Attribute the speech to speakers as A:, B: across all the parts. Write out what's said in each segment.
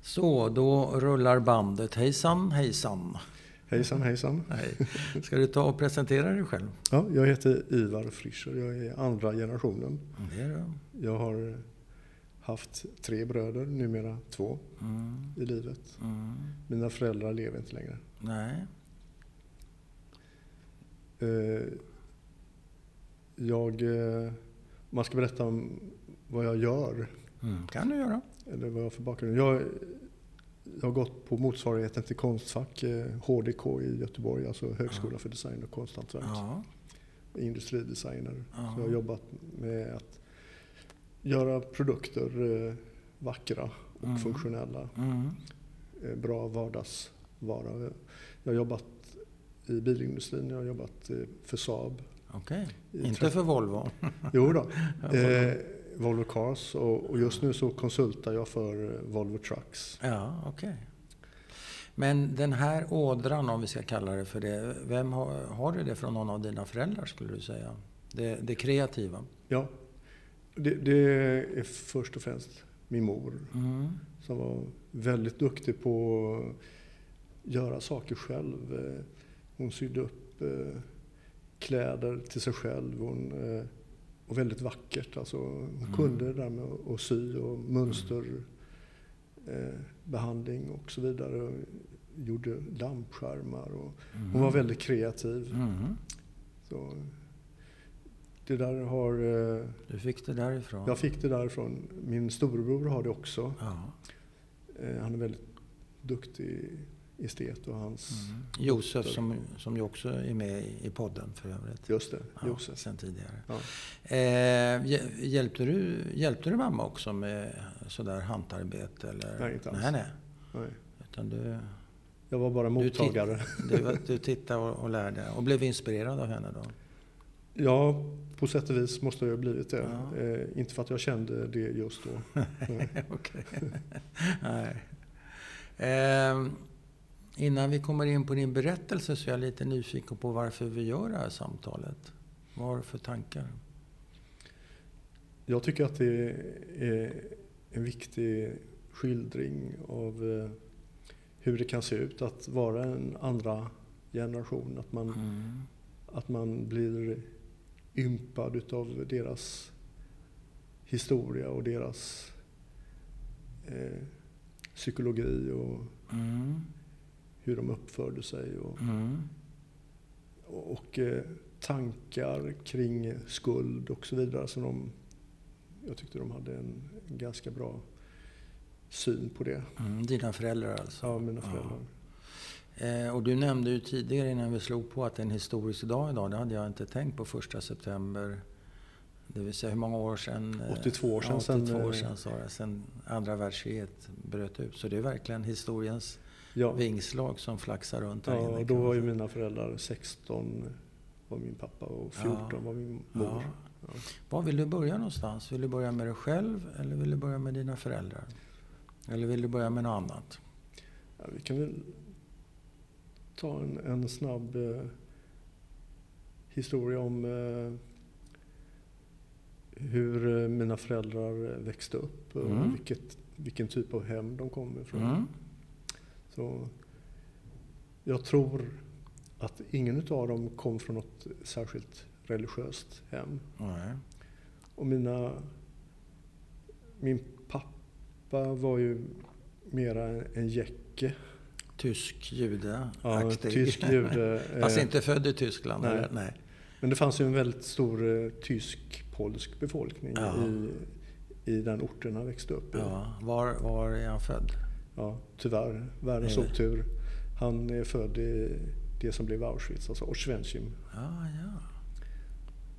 A: Så, då rullar bandet. Hejsan, hejsan.
B: Hejsan hejsan.
A: Nej. Ska du ta och presentera dig själv?
B: Ja, jag heter Ivar Frischer. Jag är andra generationen.
A: Det är du.
B: Jag har haft tre bröder, numera två,
A: Mm,
B: i livet.
A: mm,
B: Mina föräldrar lever inte längre.
A: nej.
B: Eh, Jag, eh, om man ska berätta om vad jag gör,
A: Mm, kan du göra.
B: eller vad jag har för bakgrund. Jag, jag har gått på motsvarigheten till Konstfack, eh, HDK i Göteborg, alltså Högskola för design och konsthantverk.
A: Ja.
B: industridesigner.
A: Ja.
B: Så jag har jobbat med att göra produkter eh, vackra och
A: Mm.
B: funktionella.
A: Mm,
B: eh, Bra vardagsvara. Jag har jobbat i bilindustrin, jag har jobbat eh, för Saab.
A: Okej.
B: I
A: Inte
B: traf-
A: för Volvo.
B: Jo då,
A: Ja,
B: eh, Volvo Cars och, och just nu så konsultar jag för eh, Volvo Trucks.
A: Ja, okej. Men den här ådran, om vi ska kalla det för det. Vem har, har du det från någon av dina föräldrar, skulle du säga? Det, det kreativa?
B: Ja, det, det är först och främst min mor
A: Mm.
B: som var väldigt duktig på att göra saker själv. Eh, Hon sydde upp eh, kläder till sig själv. Hon, eh, och väldigt vackert. Alltså, hon
A: Mm.
B: kunde det där med att- att sy och mönsterbehandling och så vidare. Och Gjorde lampskärmar. Och
A: Mm.
B: hon var väldigt kreativ.
A: Mm.
B: Så, det där har, eh,
A: Du fick det därifrån?
B: jag fick det därifrån. Min storebror har det också.
A: Ja.
B: Eh, Han är väldigt duktig estet och hans...
A: Mm. Josef, som, som ju också är med i i podden för övrigt.
B: Just det,
A: Ja,
B: Josef.
A: Sen tidigare.
B: Ja.
A: Eh, hjä- hjälpte, du, hjälpte du mamma också med sådär hantarbete? Eller?
B: Nej, inte alls.
A: Nej, nej.
B: Nej.
A: Utan du,
B: Jag var bara
A: Du tittar-
B: mottagare.
A: du, du tittade och, och lärde och blev inspirerad av henne då?
B: Ja, på sätt och vis måste jag ha blivit det.
A: Ja.
B: Eh, inte för att jag kände det just då. Nej.
A: Okej. Nej. Ehm, innan vi kommer in på din berättelse så är jag lite nyfiken på varför vi gör det här samtalet. Vad har du för tankar?
B: Jag tycker att det är en viktig skildring av eh, hur det kan se ut att vara en andra generation. Att man,
A: Mm.
B: att man blir ympad utav deras historia och deras eh, psykologi och
A: Mm.
B: hur de uppförde sig och,
A: Mm.
B: och eh, tankar kring skuld och så vidare. Så de, jag tyckte de hade en ganska bra syn på det.
A: Mm. Dina föräldrar alltså?
B: Ja, mina föräldrar.
A: Eh, Och du nämnde ju tidigare innan vi slog på att det är en historisk dag idag. Det hade jag inte tänkt på första september. Det vill säga hur många år sedan? eh,
B: 82 år sedan,
A: ja, 82
B: sen,
A: år
B: eh,
A: sedan, sa jag, sedan andra världskriget bröt ut. Så det är verkligen historiens
B: Ja,
A: vingslag som flaxar runt här
B: ja
A: inne.
B: och
A: kan
B: då
A: man
B: var ju
A: säga.
B: mina föräldrar 16 var min pappa och 14
A: Ja.
B: var min
A: Ja.
B: mor.
A: Var vill du börja någonstans? Vill du börja med dig själv eller vill du börja med dina föräldrar? Eller vill du börja med något annat?
B: Ja, vi kan väl ta en, en snabb eh, historia om eh, hur eh, mina föräldrar eh, växte upp och
A: Mm.
B: vilket, vilken typ av hem de kom ifrån.
A: Mm.
B: Så jag tror att ingen av dem kom från något särskilt religiöst hem.
A: Nej.
B: Och mina... Min pappa var ju mera en jäcke.
A: Tysk
B: Ja,
A: jude-aktig.
B: tysk jude.
A: Fast
B: eh,
A: inte född i Tyskland?
B: nej.
A: Eller? Nej.
B: Men det fanns ju en väldigt stor eh, tysk-polsk befolkning
A: Ja.
B: i, i den orten han växte upp i.
A: Ja, var, var är han född?
B: Ja, tyvärr, världens
A: Nej.
B: otur. Han är född i det som blev Auschwitz, alltså Oswiecim.
A: Ja, ja.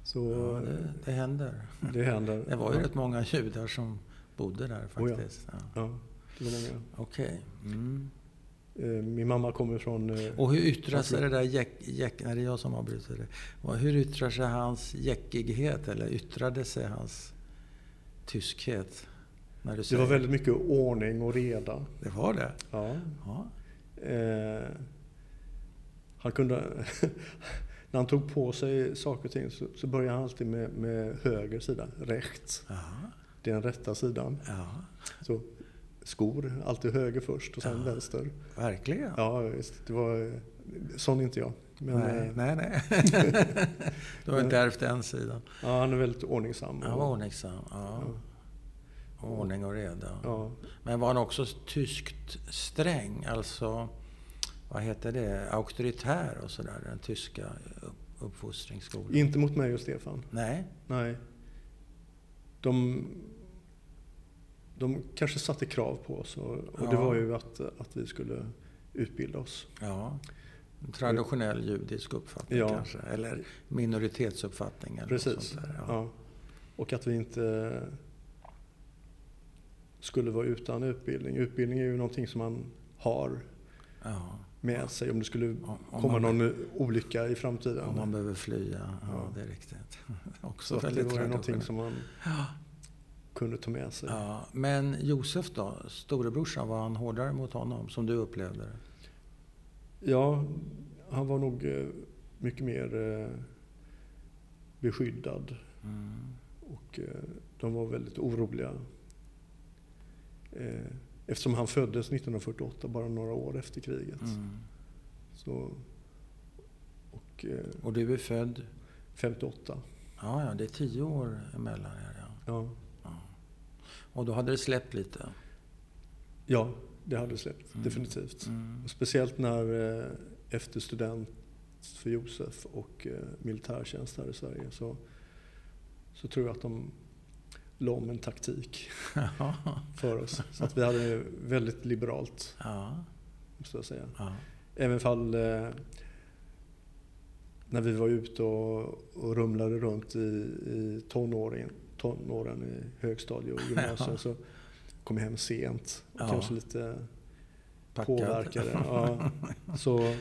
B: Så
A: ja det, det händer.
B: eh, det händer.
A: Det var ju
B: ja.
A: rätt många judar som bodde där
B: Oh ja.
A: faktiskt. ja.
B: Ja, det var många.
A: Okej. Mm.
B: Eh, Min mamma kommer från... eh,
A: Och hur yttrar sig det där jäck, jäck, nej, det är jag som avbryter det. Och Hur yttrar sig hans jäckighet eller yttrade sig hans tyskhet? När du
B: Det
A: säger
B: var väldigt mycket ordning och reda.
A: det var det?
B: Ja.
A: Ja.
B: Eh, han kunde... När han tog på sig saker och ting så, så började han alltid med, med höger sida, rechts.
A: Jaha.
B: Det är den rätta sidan.
A: Ja.
B: Så skor. Alltid höger först och sen
A: Ja.
B: vänster.
A: Verkligen.
B: Ja, visst. Det var, eh, sån är inte jag. Men
A: nej,
B: eh,
A: nej, nej. du har inte ärvt den sidan.
B: ja, han är väldigt ordningsam.
A: Han var ordningsam. Ja.
B: Ja.
A: Ordning och reda.
B: Ja,
A: Men var han också tyskt sträng? Alltså, vad heter det? Auktoritär och sådär. Den tyska upp- uppfostringsskolan.
B: inte mot mig och Stefan.
A: Nej.
B: Nej. De, de kanske satte krav på oss och, och det
A: Ja.
B: var ju att, att vi skulle utbilda oss.
A: Ja. En traditionell judisk uppfattning
B: Ja.
A: kanske. Eller minoritetsuppfattning. Eller något
B: Precis.
A: Sånt där. Ja.
B: Ja. Och att vi inte eh, skulle vara utan utbildning. Utbildning är ju någonting som man har
A: Ja.
B: med sig om det skulle
A: Om, om,
B: komma
A: man,
B: någon olycka i
A: om man
B: framtiden.
A: behöver flyga. Ja,
B: Ja.
A: det är riktigt. Också
B: Så att det
A: väldigt
B: var ju någonting
A: traditionellt.
B: som man kunde ta med sig.
A: Ja, men Josef då, storebrorsan, var han hårdare mot honom som du upplevde det?
B: Ja, han var nog eh, mycket mer eh, beskyddad
A: Mm.
B: och eh, de var väldigt oroliga. Eh, Eftersom han föddes 1948, bara några år efter kriget.
A: Mm.
B: Så, och eh,
A: Och du är född?
B: 58.
A: Ja, ja, det är tio år emellan er. Ja.
B: Ja.
A: Och då hade det släppt lite?
B: ja, det hade släppt.
A: Mm.
B: Definitivt.
A: Mm.
B: Och speciellt när eh, efter student för Josef och eh, militärtjänst här i Sverige så, så tror jag att de la om en taktik
A: ja,
B: för oss. Så att vi hade det väldigt liberalt,
A: ja,
B: måste jag säga.
A: ja.
B: Även fall eh, när vi var ute och, och rumlade runt i, i tonåren, tonåren i högstadie och gymnasium så kom jag hem sent och
A: Ja.
B: kanske lite
A: Packad.
B: påverkade. Ja. Så,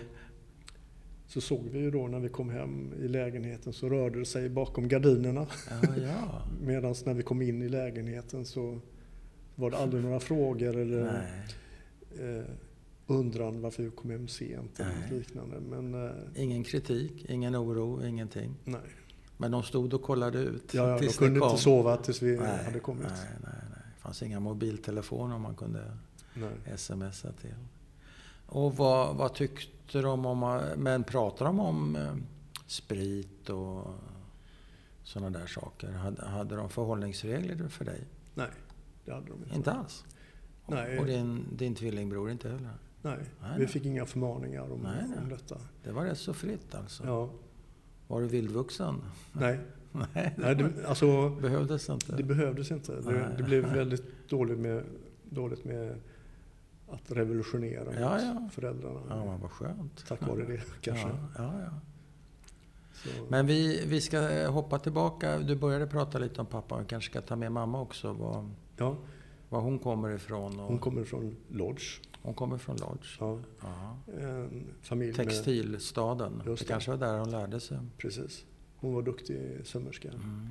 B: så såg vi ju då när vi kom hem i lägenheten så rörde det sig bakom gardinerna
A: Ja, ja.
B: medan när vi kom in i lägenheten så var det aldrig några frågor eller
A: Nej.
B: eh, undran varför vi kom hem sent eller något
A: Nej.
B: liknande. Men eh,
A: Ingen kritik, ingen oro, ingenting.
B: nej,
A: Men de stod och kollade ut
B: ja, ja, de
A: tills ni
B: kunde
A: kom.
B: inte sova tills vi
A: nej,
B: hade kommit. Nej.
A: Nej, nej, nej. Det fanns inga mobiltelefoner man kunde smsa till. Och vad, vad tyckte de om, men pratade de om eh, sprit och sådana där saker? Hade, hade de förhållningsregler för dig?
B: nej, det hade de inte.
A: Inte alls?
B: Nej.
A: Och din, din tvillingbror inte heller?
B: Nej,
A: Nej,
B: vi
A: nej.
B: fick inga förmaningar om,
A: Nej, nej.
B: om detta.
A: Det var rätt så fritt alltså?
B: Ja,
A: Var du vildvuxen?
B: nej,
A: Nej, det
B: nej det, alltså,
A: behövdes inte.
B: det behövdes inte. Det,
A: Nej.
B: det blev väldigt dåligt med, dåligt med att revolutionera mot
A: Ja, ja.
B: föräldrarna.
A: ja, men vad skönt.
B: Tack vare det kanske.
A: Ja, ja, ja.
B: Så,
A: Men vi, vi ska eh, hoppa tillbaka. Du började prata lite om pappa. Vi kanske ska ta med mamma också. Var,
B: ja,
A: var hon kommer ifrån. Och,
B: hon kommer från Lodge.
A: hon kommer från Lodge.
B: Ja,
A: Ja.
B: en familj med
A: Textilstaden.
B: Just
A: Det
B: det.
A: kanske var där hon lärde sig.
B: Precis. Hon var duktig sömmerska
A: Mm.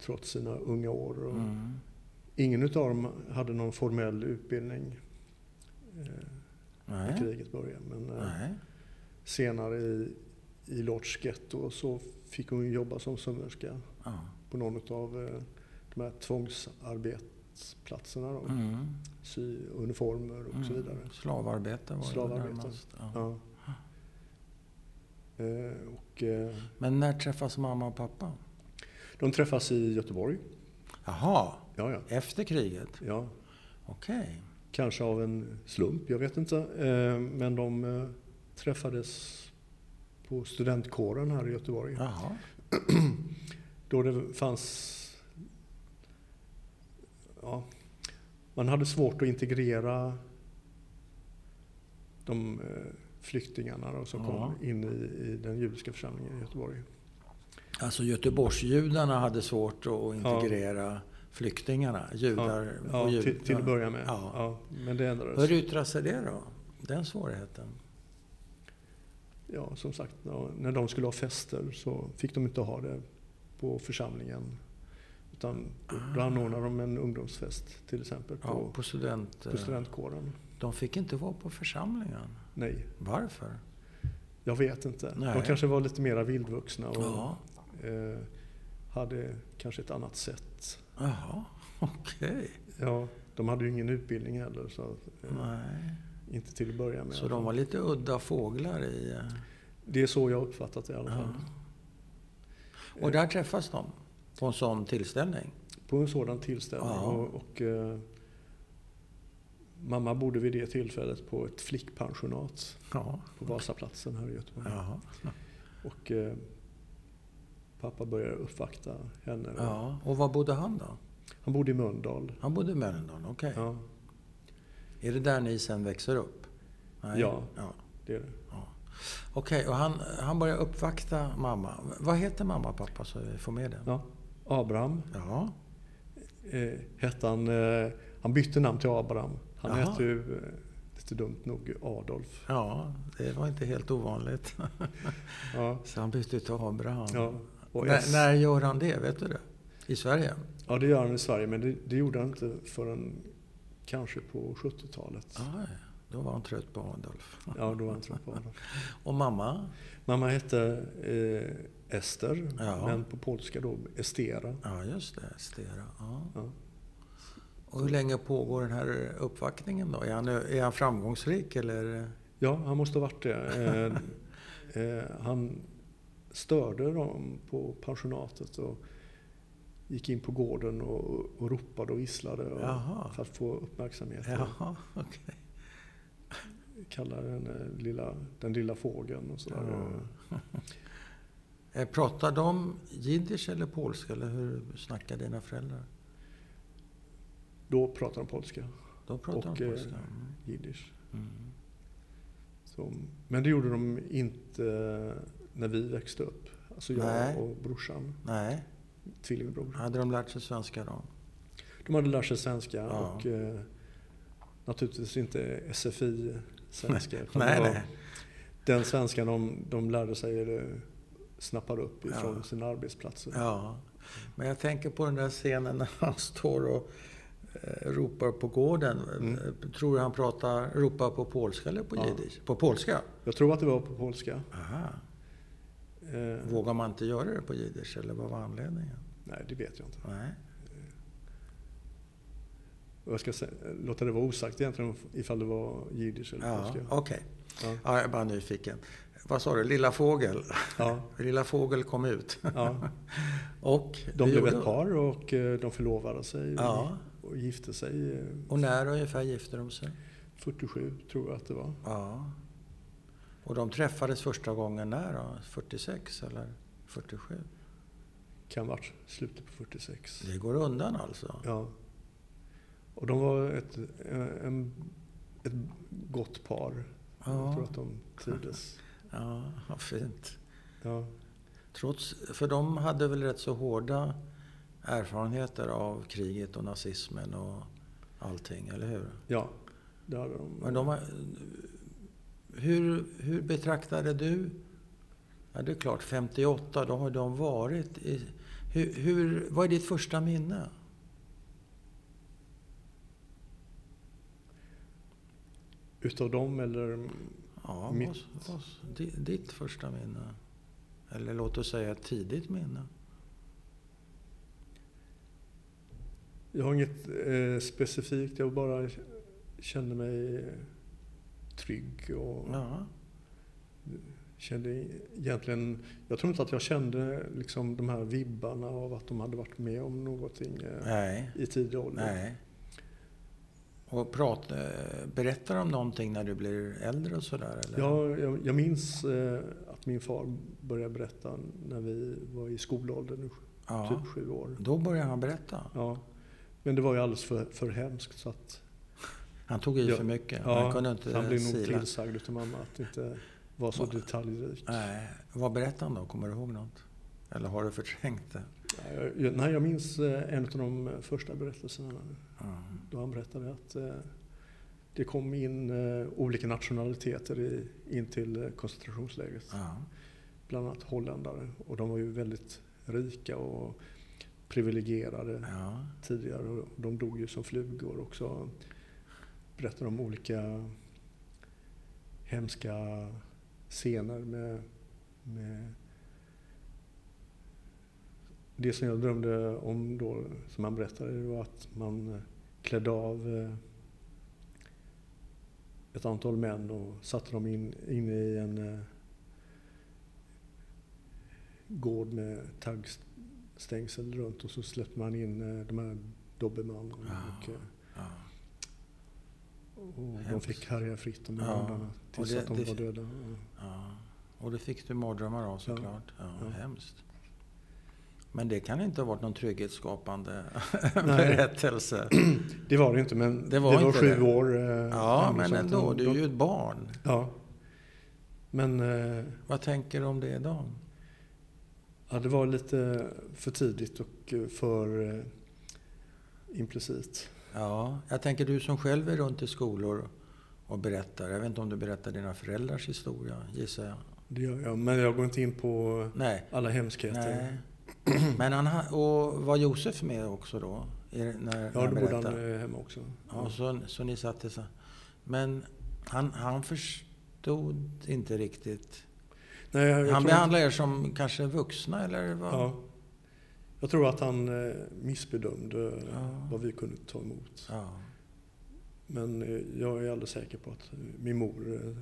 B: trots sina unga år. Och
A: Mm.
B: Ingen utav dem hade någon formell utbildning eh, när
A: Nej.
B: kriget började. Men eh,
A: Nej.
B: senare i, i Lodge ghetto så fick hon jobba som sömmerska
A: Ja.
B: på någon av eh, de här tvångsarbetsplatserna. Då.
A: Mm.
B: Sy uniformer och så
A: Mm.
B: vidare.
A: Slavarbete var
B: Slavarbete.
A: det närmast. Ja.
B: Ja. Eh, och, eh,
A: Men när träffas mamma och pappa?
B: de träffas i Göteborg.
A: Jaha,
B: Ja, ja.
A: efter kriget?
B: ja.
A: Okej.
B: Kanske av en slump, jag vet inte. Eh, Men de eh, träffades på studentkåren här i Göteborg.
A: Jaha.
B: Då det fanns... Ja, man hade svårt att integrera de eh, flyktingarna då, som
A: Ja.
B: kom in i, i den judiska församlingen i Göteborg.
A: Alltså Göteborgsjudarna hade svårt att integrera flyktingarna, judar
B: Ja,
A: och judar.
B: till, till att börja med.
A: Ja.
B: Ja, men det ändrades.
A: Hur yttrar sig det då? Den svårigheten?
B: Ja, som sagt, ja, när de skulle ha fester så fick de inte ha det på församlingen. Utan då anordnade de en ungdomsfest till exempel på,
A: Ja, på student...
B: på studentkåren.
A: De fick inte vara på församlingen.
B: Nej,
A: Varför?
B: jag vet inte.
A: Nej.
B: De kanske var lite mera vildvuxna och
A: Ja.
B: eh, hade kanske ett annat sätt.
A: Jaha, okej.
B: Ja, De hade ju ingen utbildning heller. Så att, eh,
A: Nej.
B: Inte till att börja med.
A: Så de var lite udda fåglar i... eh,
B: Det är så jag uppfattat det i alla
A: Ja.
B: fall.
A: Och där träffas de på en sån tillställning.
B: På en sådan tillställning.
A: Ja.
B: Och, och, eh, mamma bodde vid det tillfället på ett flickpensionat
A: Ja.
B: på Vasaplatsen här i Göteborg.
A: Ja.
B: Och eh, pappa började uppvakta henne.
A: ja. Och var bodde han då?
B: Han bodde i Mölndal.
A: Han bodde i Mölndal, okej.
B: Ja,
A: Är det där ni sen växer upp? Nej.
B: Ja.
A: ja.
B: det är det.
A: Okej, och han, han börjar uppvakta mamma. Vad heter mamma och pappa så vi får med det?
B: Ja. Abraham
A: Ja.
B: eh, hette han. Eh, han bytte namn till Abraham. Han
A: Jaha.
B: hette ju eh, lite dumt nog Adolf.
A: Ja, det var inte helt ovanligt.
B: Ja.
A: Så han bytte till Abraham.
B: Ja. Och
A: När,
B: S-
A: när gör han det? Vet du det? I Sverige?
B: ja, det gör han i Sverige men det, det gjorde han inte förrän kanske på 70-talet.
A: Aj, då var han trött på Adolf.
B: Ja, då var han trött på honom.
A: Och mamma?
B: Mamma hette eh, Ester,
A: Ja.
B: men på polska då Estera.
A: Ja, just det. Stera. Ja.
B: Ja.
A: Och hur länge pågår den här uppvaktningen då? Är han, är han framgångsrik eller?
B: Ja, han måste ha varit det. Eh, eh, han störde dem på pensionatet och gick in på gården och, och ropade och visslade och,
A: Jaha.
B: för att få uppmärksamhet.
A: Jaha, okej.
B: Kallade den, eh, lilla, den lilla fågeln och sådär.
A: Eh, Pratar de jiddisch eller polska eller hur snackar dina föräldrar?
B: Då pratade de polska,
A: De pratar
B: Och,
A: de
B: eh,
A: polska. Mm.
B: jiddisch.
A: Mm.
B: Så, men det gjorde de inte när vi växte upp. Alltså jag
A: Nej.
B: och brorsan,
A: Nej,
B: tvillingbror.
A: hade de lärt sig svenska då?
B: De hade lärt sig svenska
A: Ja.
B: och eh, naturligtvis inte SFI-svenska. utan det
A: Nej,
B: var
A: nej.
B: Den svenska de, de lärde sig eller snappade upp ifrån
A: Ja.
B: sina arbetsplatser.
A: Ja. Men jag tänker på den där scenen när han står och eh, ropar på gården. Eh, Tror du han pratar, ropar på polska eller på
B: Mm. Ja.
A: jiddisch? På polska?
B: Jag tror att det var på polska.
A: Aha.
B: Eh,
A: Vågar man inte göra det på jiddisch eller vad var anledningen?
B: nej, det vet jag inte.
A: Nej.
B: Och Jag ska sä- låta det vara osagt egentligen ifall det var jiddisch eller
A: Ja,
B: polska.
A: okej.
B: Ja.
A: Ja, jag är bara nyfiken. Vad sa du? Lilla Fågel?
B: Ja.
A: Lilla Fågel kom ut.
B: Ja.
A: och
B: De
A: det
B: blev
A: gjorde-
B: ett par och eh, de förlovade sig
A: Ja.
B: och gifte sig eh,
A: Och när ungefär gifte de sig?
B: 47 tror jag att det var.
A: Ja. Och de träffades första gången när då? 46 eller 47?
B: Kan ha varit slutet på 46.
A: Det går undan alltså?
B: Ja. Och de var ett, eh, en, ett gott par. Jag
A: Ja.
B: tror att de trivdes.
A: Ja, vad fint.
B: Ja.
A: Trots, för de hade väl rätt så hårda erfarenheter av kriget och nazismen och allting, eller hur?
B: ja, det hade de.
A: Men de var, hur, hur betraktade du... Ja, det är klart, 58, då har de varit i... Hur, hur, vad är ditt första minne?
B: Utav dem eller...
A: Ja,
B: Mitt-
A: Mitt. ditt första minne? Eller låt oss säga ett tidigt minne.
B: Jag har inget eh, specifikt. Jag bara kände mig trygg och
A: Ja,
B: kände egentligen... Jag tror inte att jag kände liksom de här vibbarna av att de hade varit med om någonting eh,
A: nej,
B: i tidig ålder.
A: nej. Och prat, eh, berättar om någonting när du blir äldre och sådär? Eller?
B: Ja, jag, jag minns eh, att min far började berätta när vi var i skolåldern,
A: ja.
B: typ sju år.
A: Då börjar han berätta.
B: Ja. Men det var ju alldeles för, för hemskt så att
A: Han tog i
B: Ja.
A: för mycket.
B: Ja,
A: han kunde inte
B: han blev nog
A: sila.
B: tillsagd utav mamma att inte vara så
A: Va-
B: detaljrik.
A: Nej, vad berättade han då? Kommer du ihåg något? Eller har du förträngt det?
B: Nej, jag, nej, jag minns eh, en av de första berättelserna då han berättade att eh, det kom in eh, olika nationaliteter i, in till eh, koncentrationslägret.
A: Ja.
B: Bland annat holländare och de var ju väldigt rika och privilegierade.
A: ja.
B: tidigare och de dog ju som flugor också. Berättar om olika hemska scener med, med det som jag drömde om då, som han berättade, det var att man eh, klädde av eh, ett antal män och satte dem in, in i en eh, gård med taggstängsel runt och så släppte man in eh, de här dobermann och,
A: Ja.
B: eh,
A: Ja.
B: och Oh, de
A: Hemskt.
B: fick härja fritt de här
A: Ja.
B: hundarna
A: Och
B: tills
A: det-
B: att de
A: det-
B: var döda. Ja.
A: Ja. Och det fick du mardrömmar av såklart. Ja.
B: Ja.
A: Hemskt. Men det kan inte ha varit någon trygghetsskapande
B: Nej.
A: berättelse.
B: Det var det inte men
A: Det
B: det
A: var
B: var,
A: inte
B: sju
A: det.
B: år. eh,
A: Ja,
B: gammal,
A: men
B: så att
A: ändå.
B: de-
A: Du är
B: de-
A: ju ett barn.
B: Ja. Men eh,
A: Vad tänker du om det idag?
B: ja, det var lite för tidigt och eh, för eh, implicit.
A: Ja, jag tänker du som själv är runt i skolor och berättar. Jag vet inte om du berättar dina föräldrars historia, gissar jag.
B: Det gör jag. Men jag går inte in på
A: Nej.
B: alla hemskheter.
A: Nej. Men han, ha- och var Josef med också då? i- När,
B: Ja,
A: när
B: då bodde
A: berättar?
B: han eh, hemma också.
A: Ja, så, så ni satt tillsammans. Men han, han förstod inte riktigt.
B: Nej, jag, jag
A: han
B: tror att,
A: behandlade er som kanske vuxna eller vad?
B: ja, jag tror att han eh, missbedömde eh,
A: Ja.
B: vad vi kunde ta emot.
A: Ja.
B: Men eh, jag är alldeles säker på att eh, min mor eh,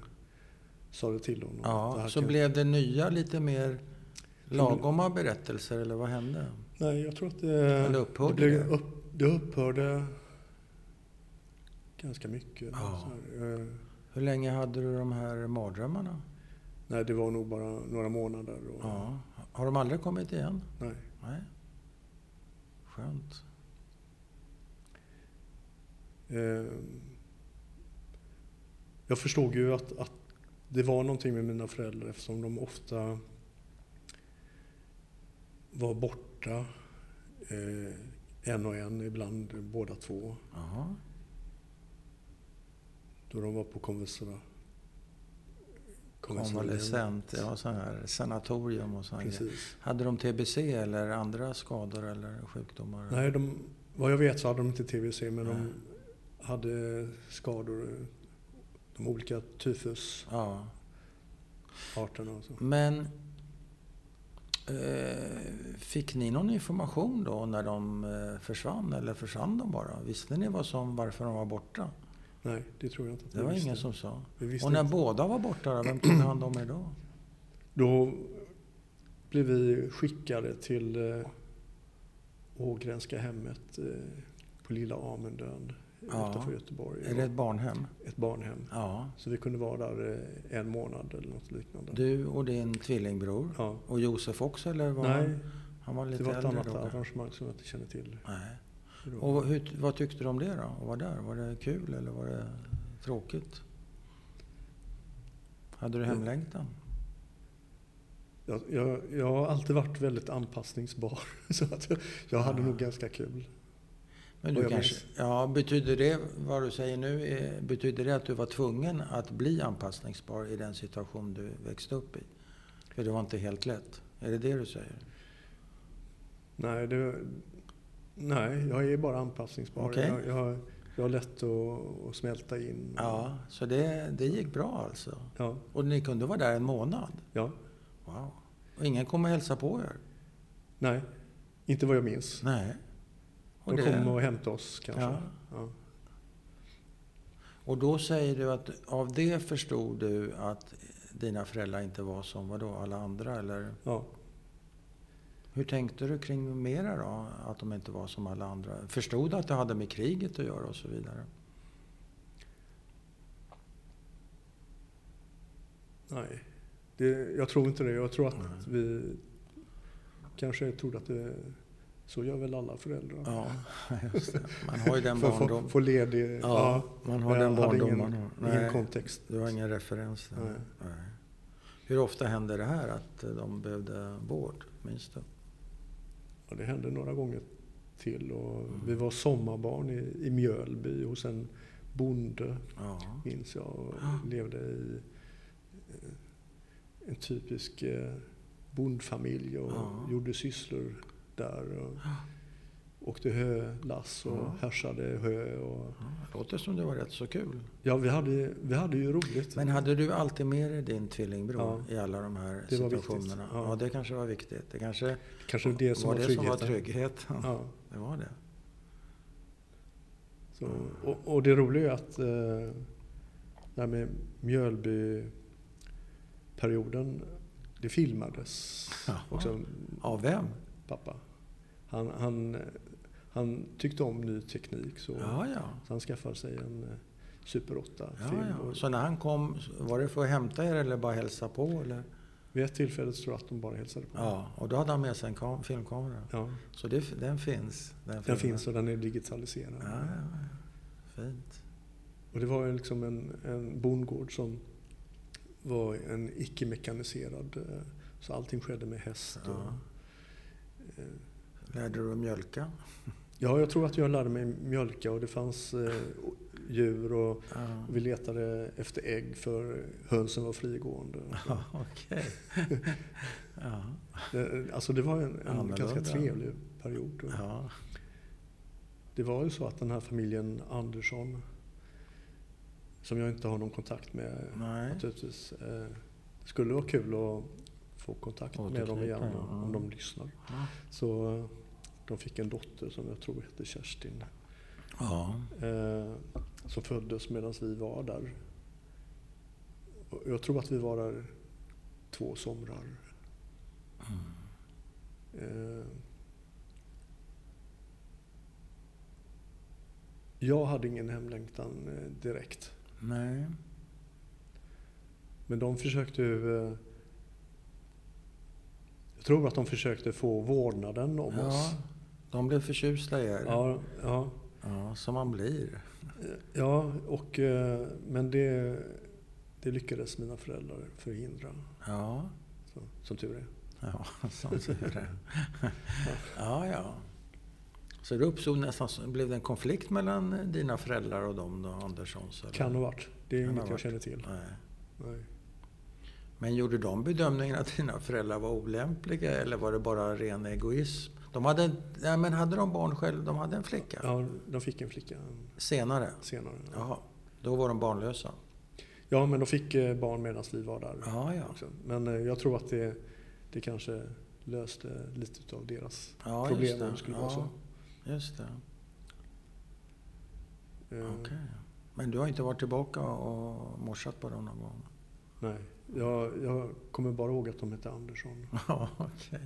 B: sa det till honom.
A: Ja,
B: Det här
A: så
B: kan-
A: blev det nya lite mer
B: blev-
A: lagoma berättelser eller vad hände?
B: Nej, jag tror att det,
A: Eller upphörde
B: Eh, det, blev,
A: det?
B: Upp, det upphörde ganska mycket.
A: Ja.
B: Så här, eh,
A: Hur länge hade du de här mardrömmarna?
B: nej, det var nog bara några månader. Och,
A: Ja. Har de aldrig kommit igen?
B: nej.
A: Nej. Skönt.
B: Eh, jag förstod ju att, att det var någonting med mina föräldrar eftersom de ofta var borta eh, en och en, ibland båda två,
A: Jaha.
B: då de var på konversera.
A: Konvalescent, ja sån här sanatorium och sånt.
B: Precis.
A: Hade de TBC eller andra skador eller sjukdomar?
B: Nej, de, vad jag vet så hade de inte TBC men
A: Nej.
B: de hade skador. De olika tyfusarterna
A: Ja.
B: och så.
A: Men eh, fick ni någon information då när de eh, försvann eller försvann de bara? Visste ni vad som, varför de var borta?
B: Nej, det tror jag inte. att
A: Det
B: vi
A: var
B: visste.
A: ingen som sa.
B: Vi visste
A: Och när
B: inte.
A: båda var borta då, vem tog hand om er då?
B: Då blev vi skickade till eh, Ågrenska hemmet eh, på Lilla Amundön
A: Ja.
B: utanför Göteborg.
A: Är det ett barnhem?
B: Ett barnhem.
A: Ja.
B: Så vi kunde vara där eh, en månad eller något liknande.
A: Du och din tvillingbror?
B: Ja.
A: Och Josef också eller? Var
B: Nej,
A: han, han var lite
B: det var ett
A: äldre
B: annat
A: då? kanske?
B: arrangemang som jag inte känner till.
A: Nej.
B: hur det var.
A: Och vad- hur, vad tyckte du om det då? Att vara där? Var det kul eller var det tråkigt? Hade du
B: Mm.
A: hemlängtan?
B: Jag, jag, jag har alltid varit väldigt anpassningsbar. Så att jag, jag hade
A: Ah.
B: nog ganska kul.
A: Men
B: Och
A: du
B: jag
A: kanske, ja, betyder det, vad du säger nu, eh, betyder det att du var tvungen att bli anpassningsbar i den situation du växte upp i? För det var inte helt lätt. Är det det du säger?
B: Mm. Nej, det, nej jag är bara anpassningsbar.
A: Okej.
B: Jag, jag, jag har lätt att, att smälta in.
A: Ja, så det, det gick bra alltså.
B: Ja,
A: Och ni kunde vara där en månad?
B: ja.
A: Wow. Och ingen kom och hälsade på er?
B: Nej, inte vad jag minns.
A: Nej. Och
B: De
A: det-
B: kom och hämtade oss kanske.
A: Ja.
B: Ja.
A: Och då säger du att av det förstod du att dina föräldrar inte var som vadå, alla andra? Eller
B: Ja.
A: hur tänkte du kring mera då? Att de inte var som alla andra? Förstod du att det hade med kriget att göra och så vidare?
B: Nej, det, jag tror inte det. Jag tror att
A: Nej.
B: vi kanske trodde att det, så gör väl alla föräldrar.
A: Ja, just det. Man har ju den
B: För att få,
A: barndom.
B: få ledig...
A: Ja, man har
B: jag
A: den
B: hade
A: barndom
B: ingen-
A: man har.
B: Ingen
A: Nej,
B: kontext.
A: du har ingen referens där.
B: Nej.
A: Nej. Hur ofta hände det här att de behövde vård? Minns du?
B: Ja, det hände några gånger till. Och
A: Mm.
B: Vi var sommarbarn i, i Mjölby hos en bonde,
A: Ja.
B: minns jag. Och
A: Ah.
B: levde i eh, en typisk eh, bondfamilj och
A: Ja.
B: gjorde sysslor där. Och
A: Ah.
B: åkte hölass och
A: Ja.
B: härsade hö. Och,
A: Ja, det låter som det var rätt så kul.
B: ja, vi hade, vi hade ju roligt.
A: Men hade du alltid med dig din tvillingbror i alla de här
B: Det var viktigt.
A: situationerna?
B: Ja.
A: Ja, det kanske var viktigt. Det kanske
B: Kanske det som
A: var,
B: var
A: det som var
B: tryggheten.
A: tryggheten.
B: Ja.
A: Det var det.
B: Så, och, och det roliga är att eh, det här med Mjölbyperioden, det filmades
A: Jaha.
B: också.
A: Av vem?
B: Pappa. Han, han, han tyckte om ny teknik så,
A: Ja, ja.
B: så han skaffade sig en eh, Super 8-film.
A: Ja, ja.
B: Och
A: Så när han kom, var det för att hämta er eller bara hälsa på? Eller?
B: Vid ett tillfälle så tror jag att de bara hälsade på mig.
A: Ja, och då hade han med sig en kam- filmkamera.
B: Ja,
A: Så det, den finns?
B: den
A: filmen.
B: finns och den är digitaliserad.
A: Ja, ja, ja. Fint.
B: Och det var ju liksom en, en bondgård som var en icke-mekaniserad, eh, så allting skedde med häst. Och,
A: Ja.
B: eh,
A: Lärde du dig att mjölka?
B: ja, jag tror att jag lärde mig mjölka och det fanns eh, djur och
A: Ja.
B: vi letade efter ägg för hönsen var frigående.
A: Ja, okej. Ja,
B: Det, alltså det var en, en
A: Annorlunda.
B: ganska trevlig period.
A: ja.
B: Det var ju så att den här familjen Andersson, som jag inte har någon kontakt med
A: Nej.
B: naturligtvis, eh, det skulle vara kul att få kontakt med dem
A: Återknyta,
B: igen
A: ja.
B: om de lyssnar.
A: Ja.
B: Så eh, de fick en dotter som jag tror hette Kerstin,
A: Ja.
B: eh, som föddes medan vi var där. Och Jag tror att vi var där två somrar. Eh, Jag hade ingen hemlängtan eh, direkt.
A: Nej.
B: Men de försökte ju... eh, Jag tror att de försökte få vårdnaden om
A: Ja.
B: oss.
A: De blev förtjusta i er.
B: Ja, ja,
A: Ja, som man blir.
B: eh, ja och, eh, men det, det lyckades mina föräldrar förhindra.
A: Ja.
B: Så, som tur är.
A: Ja, sånt är det. Ja, ja. Så det uppstod nästan, blev det en konflikt mellan eh, dina föräldrar och dem då, Anderssons? Eller?
B: Kan ha varit. Det är
A: Kan ha
B: inget jag
A: varit.
B: känner till.
A: Nej.
B: Nej.
A: Men gjorde de bedömningen att dina föräldrar var olämpliga eller var det bara ren egoism? De hade, nej, men hade de barn själv? De hade en flicka?
B: Ja, de fick en flicka
A: Senare?
B: senare. Ja,
A: Jaha. Då var de barnlösa?
B: ja men de fick eh, barn medan vi var där.
A: Ja, ja.
B: Också. Men eh, jag tror att det, det kanske löste lite av deras
A: ja just
B: problem
A: det.
B: om det skulle vara så.
A: Ja, Just det.
B: Eh,
A: Okej. Men du har inte varit tillbaka och morsat på dem någon gång?
B: Nej, jag, jag kommer bara ihåg att de hette Andersson.
A: Ja, okej.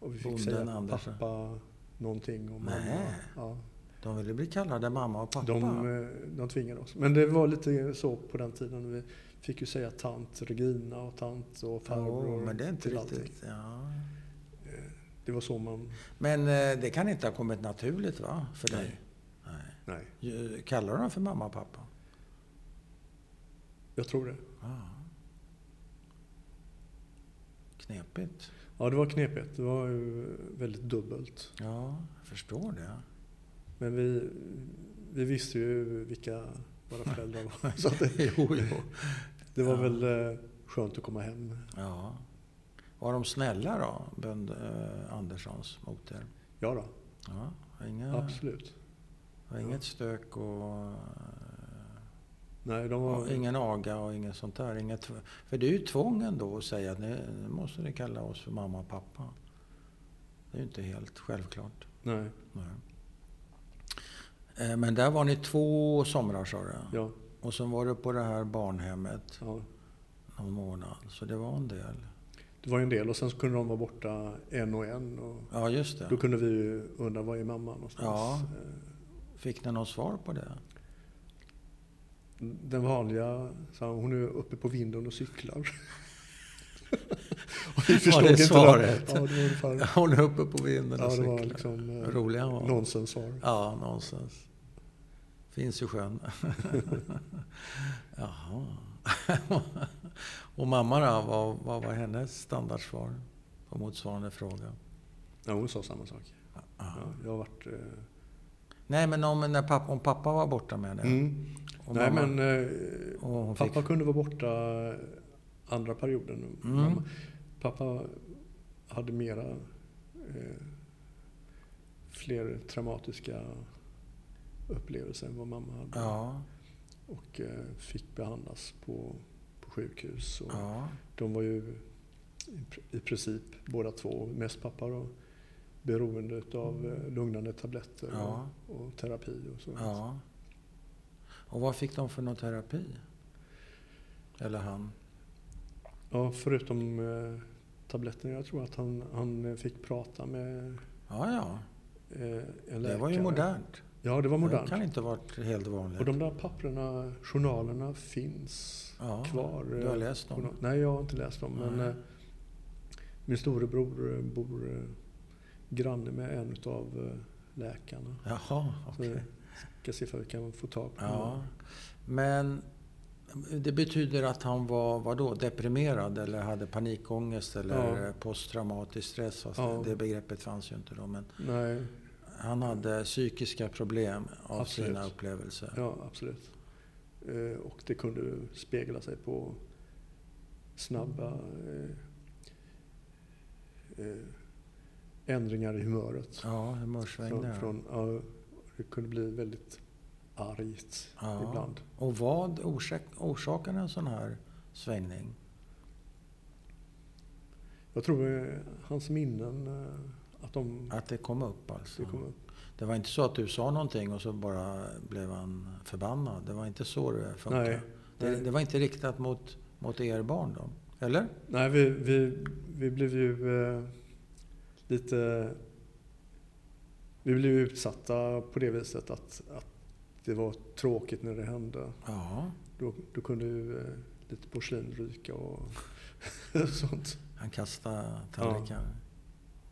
B: Och vi fick
A: Bonden
B: säga
A: Andersson.
B: pappa någonting och mamma.
A: Nej.
B: Ja,
A: De ville bli kallade mamma och pappa?
B: de, eh, de tvingade oss. Men det var lite så på den tiden. Vi fick ju säga tant Regina och tant och farbror.
A: Jo, men det är inte
B: till allting.
A: riktigt... Ja.
B: Det var så man...
A: Men eh, det kan inte ha kommit naturligt va? För dig?
B: Nej.
A: Nej.
B: Nej,
A: Ju- Kallar du dem för mamma och pappa?
B: jag tror det.
A: Ja. Knepigt.
B: Ja, det var knepigt. Det var ju väldigt dubbelt.
A: Ja, jag förstår det.
B: Men vi, vi visste ju vilka våra föräldrar var. Så att det,
A: jo, jo.
B: det var
A: Ja.
B: väl eh, skönt att komma hem.
A: Ja. Var de snälla då, Bönd eh, Anderssons mot er?
B: Ja då,
A: Ja, inga,
B: absolut.
A: var inget stök och... eh,
B: Nej, de var...
A: och ingen aga och inget sånt där. Inget, tv- för det är ju tvång ändå att säga att nu nu måste ni kalla oss för mamma och pappa. Det är ju inte helt självklart.
B: Nej,
A: Nej. Eh, Men där var ni två somrar sa du?
B: ja.
A: Och sen var du på det här barnhemmet
B: ja.
A: någon månad. Så det var en del.
B: Det var ju en del och sen så kunde de vara borta en och en. Och
A: Ja, just det.
B: Då kunde vi ju undra, var är mamma någonstans?
A: Ja.
B: Eh,
A: Fick ni något svar på det?
B: Den vanliga, sa hon, hon är uppe på vinden och cyklar. och vi
A: det
B: inte
A: svaret?
B: Det. Ja, det var ungefär
A: Hon är uppe på vinden och
B: ja, det
A: cyklar.
B: var liksom, eh,
A: Rolig han var.
B: nonsenssvar.
A: Ja, någonstans. Finns i sjön. Jaha. och mamma då, vad, vad var hennes standardsvar på motsvarande fråga?
B: Ja, hon sa samma sak. Ja, jag har varit... Eh,
A: Nej, men om, när pappa, om pappa var borta med det.
B: mm.
A: Och
B: Nej,
A: mamma-
B: men eh,
A: och hon fick,
B: pappa kunde vara borta andra perioden.
A: Mm.
B: Mamma, pappa hade mera... Eh, fler traumatiska upplevelser än vad mamma hade.
A: ja,
B: Och eh, fick behandlas på, på sjukhus. Och,
A: ja,
B: De var ju i pr- i princip båda två, mest pappa då, beroende utav eh, lugnande tabletter
A: Ja.
B: och, och terapi och sånt.
A: Ja. Och vad fick de för någon terapi? Eller han?
B: Ja, förutom eh, tabletterna. Jag tror att han, han eh, fick prata med
A: Ja, ja.
B: eh, en läkare.
A: Det var ju modernt.
B: Ja, det var
A: Det
B: modernt.
A: kan inte ha varit helt
B: Och
A: vanligt.
B: de där papperna, journalerna finns
A: Ja,
B: kvar. eh,
A: du har läst
B: Journal-
A: dem?
B: Nej, jag har inte läst dem. Men
A: Nej.
B: eh, min storebror eh, bor eh, granne med en utav eh, läkarna.
A: Jaha,
B: Så
A: okej.
B: vi ska se om vi kan få tag på
A: Ja.
B: honom.
A: Men det betyder att han var vadå, deprimerad eller hade panikångest eller posttraumatisk stress? Fast
B: Ja.
A: Det begreppet fanns ju inte då. Men
B: Nej,
A: han hade psykiska problem av
B: Absolut.
A: sina upplevelser.
B: ja absolut. Eh, Och det kunde spegla sig på snabba eh, eh, ändringar i humöret.
A: Ja,
B: Från,
A: humörsvängningar.
B: från, ja, det kunde bli väldigt argt
A: Ja.
B: ibland.
A: Och vad orsak, orsakade en sån här svängning?
B: Jag tror eh, hans minnen, eh, att de
A: Att det kom upp alltså?
B: det kom upp.
A: Det var inte så att du sa någonting och så bara blev han förbannad? Det var inte så det funkade?
B: Nej,
A: Det,
B: nej.
A: det var inte riktat mot, mot er barn då? Eller?
B: nej vi, vi, vi blev ju eh, lite... Vi blev ju utsatta på det viset att, att det var tråkigt när det hände.
A: Ja.
B: Då, då kunde ju eh, lite porslin ryka och sånt.
A: Han kastade tallrikar.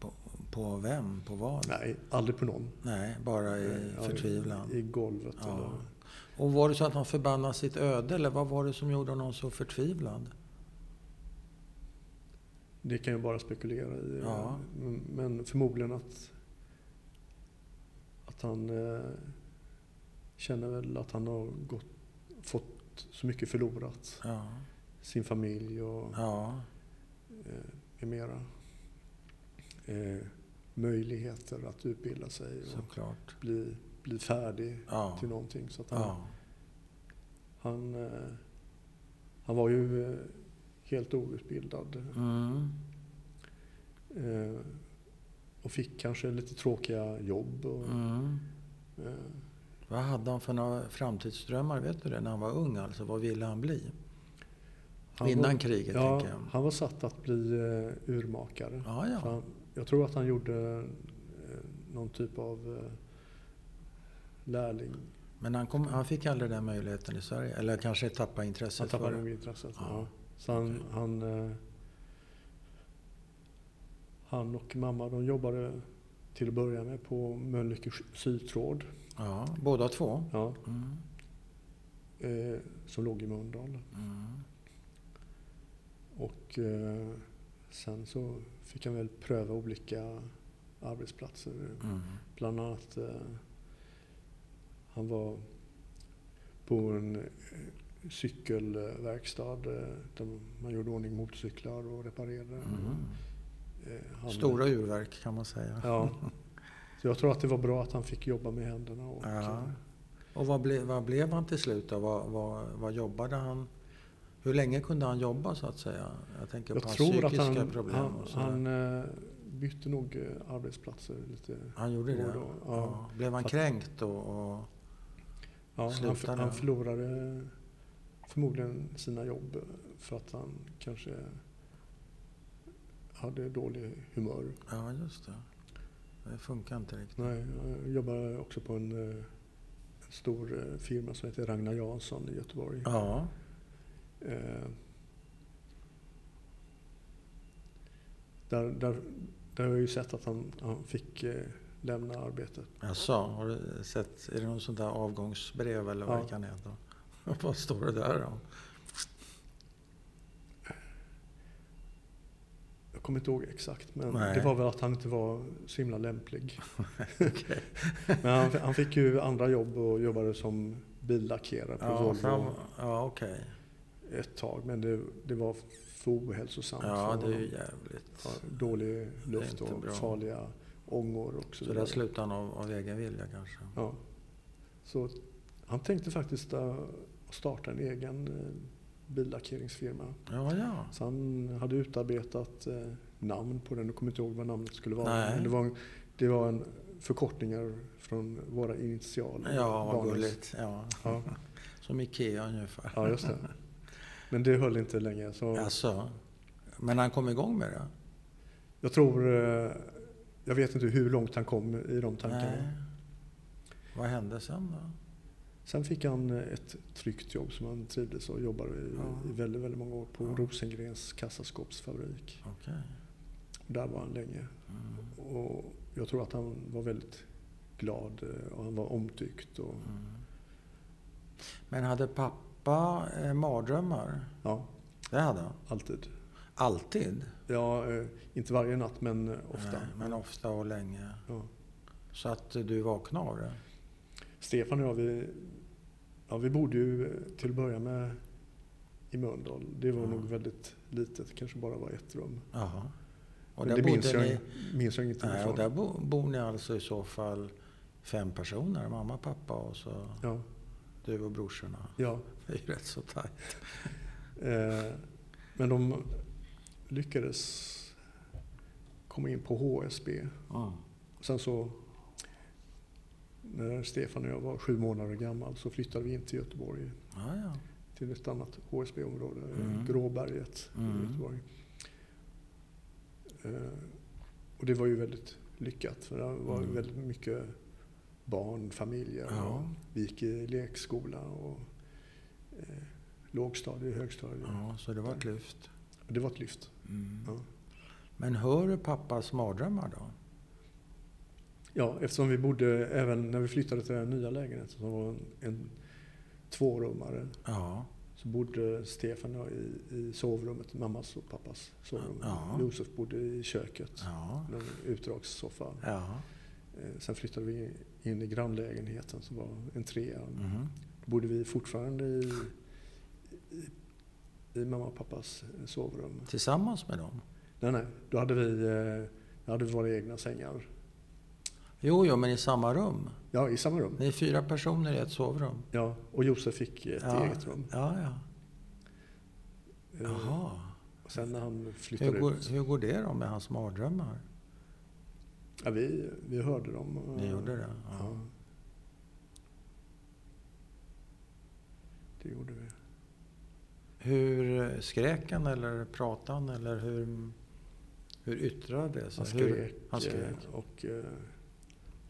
A: På, på vem? På vad?
B: Nej, aldrig på någon.
A: Nej, bara i
B: Ja,
A: förtvivlan.
B: I, i golvet
A: Ja.
B: eller...
A: Och var det så att han förbannade sitt öde eller vad var det som gjorde honom så förtvivlad?
B: Det kan jag bara spekulera i.
A: Ja.
B: Men- Men förmodligen att, att han eh, känner väl att han har gått, fått så mycket förlorat.
A: Ja.
B: Sin familj och
A: Ja.
B: eh, med mera. Eh, möjligheter att utbilda sig och
A: Såklart.
B: bli, bli färdig
A: Ja.
B: till någonting. Så att han,
A: Ja.
B: han, eh, han var ju eh, helt outbildad.
A: Mm.
B: Eh, och fick kanske lite tråkiga jobb. Och,
A: Mm.
B: eh,
A: Vad hade han för några framtidsdrömmar, vet du det, när han var ung alltså? Vad ville han bli?
B: han
A: Innan
B: var,
A: kriget,
B: ja,
A: tänker jag.
B: Han var satt att bli eh, urmakare.
A: Ja,
B: Så
A: ja.
B: Han, jag tror att han gjorde eh, någon typ av eh, lärling.
A: Men han, kom, han fick aldrig den möjligheten i Sverige? Eller kanske tappade intresset
B: Han
A: för
B: tappade
A: det?
B: nog intresset.
A: Ja.
B: Ja. Så han,
A: Okej.
B: han, eh, han och mamma de jobbade till att börja med på Mölnlycke sytråd.
A: Ja, båda två?
B: Ja,
A: Mm.
B: eh, som låg i Mölndal.
A: Mm.
B: Och eh, sen så fick han väl pröva olika arbetsplatser.
A: Mm.
B: Bland annat eh, han var på en eh, cykelverkstad eh, där man gjorde ordning motorcyklar och reparerade.
A: Mm.
B: Eh, han-
A: Stora urverk kan man säga.
B: Ja. Så jag tror att det var bra att han fick jobba med händerna. Och,
A: Ja.
B: eh,
A: Och vad, ble, vad blev han till slut då? Vad, vad, vad jobbade han? Hur länge kunde han jobba så att säga? Jag tänker
B: jag
A: på hans
B: tror att
A: psykiska
B: han,
A: problem
B: han,
A: och sådär.
B: han eh, bytte nog eh, arbetsplatser lite.
A: han gjorde
B: då
A: det?
B: och då. Ja.
A: Ja. Blev han
B: Fast-
A: kränkt då? Och,
B: Ja, han,
A: Slutade
B: han
A: han?
B: förlorade förmodligen sina jobb för att han kanske hade dålig humör.
A: ja, just det. Det funkar inte riktigt.
B: Nej, jag jobbade också på en eh, stor eh, firma som heter Ragnar Jansson i Göteborg.
A: Ja.
B: Eh, Där, där, där har jag ju sett att han, han fick eh, lämna arbetet.
A: Jaså, har du sett? Är det någon sånt där avgångsbrev eller vad
B: Ja.
A: det kan heta? vad står det där då?
B: Jag kommer inte ihåg exakt men
A: Nej.
B: det var väl att han inte var så himla lämplig. Men han, han fick ju andra jobb och jobbade som billackerare på
A: Ja,
B: Volvo
A: fram, ja okej.
B: ett tag. Men det, det var för ohälsosamt
A: Ja,
B: för
A: det är
B: honom.
A: ju jävligt.
B: Ja, Dålig luft
A: inte
B: och
A: bra.
B: farliga ångor och så
A: Så
B: vidare.
A: där slutade han av, av egen vilja kanske?
B: ja. Så han tänkte faktiskt eh, att starta en egen eh, billackeringsfirma.
A: Ja, ja.
B: äh, Så han hade utarbetat eh, namn på den. Jag kommer inte ihåg vad namnet skulle vara.
A: Nej.
B: Men det var en Det var en förkortningar från våra initialer.
A: Ja, vad
B: barnens.
A: gulligt. Ja.
B: Ja.
A: Som Ikea ungefär.
B: Ja, just det. Men det höll inte länge. Så
A: Alltså, men han kom igång med det?
B: Jag tror... eh, Jag vet inte hur långt han kom i de tankarna.
A: Nej. Vad hände sen då?
B: Sen fick han ett tryggt jobb som han trivdes och jobbade i,
A: Ja.
B: i väldigt, väldigt många år på
A: Ja.
B: Rosengrens kassaskåpsfabrik.
A: Okej.
B: Där var han länge.
A: Mm.
B: Och jag tror att han var väldigt glad eh, och han var omtyckt. Och,
A: Mm. Men hade pappa eh, mardrömmar?
B: ja,
A: Det hade han.
B: alltid.
A: Alltid?
B: Ja, eh, inte varje natt men eh, ofta.
A: Nej, men ofta och länge.
B: Ja.
A: Så att eh, du vaknade av det?
B: Stefan och jag, vi, ja, vi bodde ju eh, till att börja med i Mölndal. Det var
A: Ja.
B: nog väldigt litet, det kanske bara var ett rum.
A: Jaha. Och
B: men
A: där
B: det minns
A: bodde
B: jag,
A: ni...
B: minns jag ingenting
A: Nej,
B: ifrån.
A: och där bo, bor ni alltså i så fall fem personer? Mamma, pappa och så
B: Ja,
A: du och brorsorna.
B: ja.
A: Det är ju rätt så tajt.
B: Eh, men de lyckades komma in på HSB. Sen så när Stefan och jag var sju månader gammal så flyttade vi in till Göteborg
A: Ja, ja.
B: till ett annat HSB-område,
A: Mm.
B: Gråberget
A: Mm.
B: i Göteborg. Eh, och det var ju väldigt lyckat för det var
A: Mm.
B: väldigt mycket barn, familjer. Och
A: Ja,
B: vi gick i lekskola och eh, lågstadie, högstadie.
A: ja, så det var ett lyft.
B: Och Det var ett lyft. Ja.
A: Men hör du pappas mardrömmar då?
B: Ja, eftersom vi bodde även när vi flyttade till den nya lägenheten som var en, en tvårummare
A: Ja.
B: så bodde Stefan och jag i, i sovrummet, mammas och pappas sovrum.
A: Ja.
B: Josef bodde i köket,
A: Ja.
B: i en utdragssoffa.
A: Ja.
B: Eh, Sen flyttade vi in i grannlägenheten som var en trea.
A: Mhm.
B: Då bodde vi fortfarande i, i, i mamma och pappas eh, sovrum.
A: Tillsammans med dem?
B: Nej, nej, då hade vi, eh, då hade vi våra egna sängar.
A: Jo, jo, men i samma rum.
B: Ja, i samma rum.
A: Ni är fyra personer i ett sovrum.
B: Ja, och Josef fick ett
A: Ja.
B: eget rum.
A: Ja, ja.
B: Eh,
A: Jaha.
B: Och sen när han flyttade
A: Hur går,
B: ut.
A: hur går det då med hans mardrömmar?
B: Ja, vi, vi hörde dem. och-
A: Ni gjorde det? Ja.
B: Mm. Ja. Det gjorde vi.
A: Hur eh, skrek han eller pratade han eller hur, hur yttrade det sig?
B: Han
A: Hur,
B: skrek,
A: han skrek.
B: eh, och eh,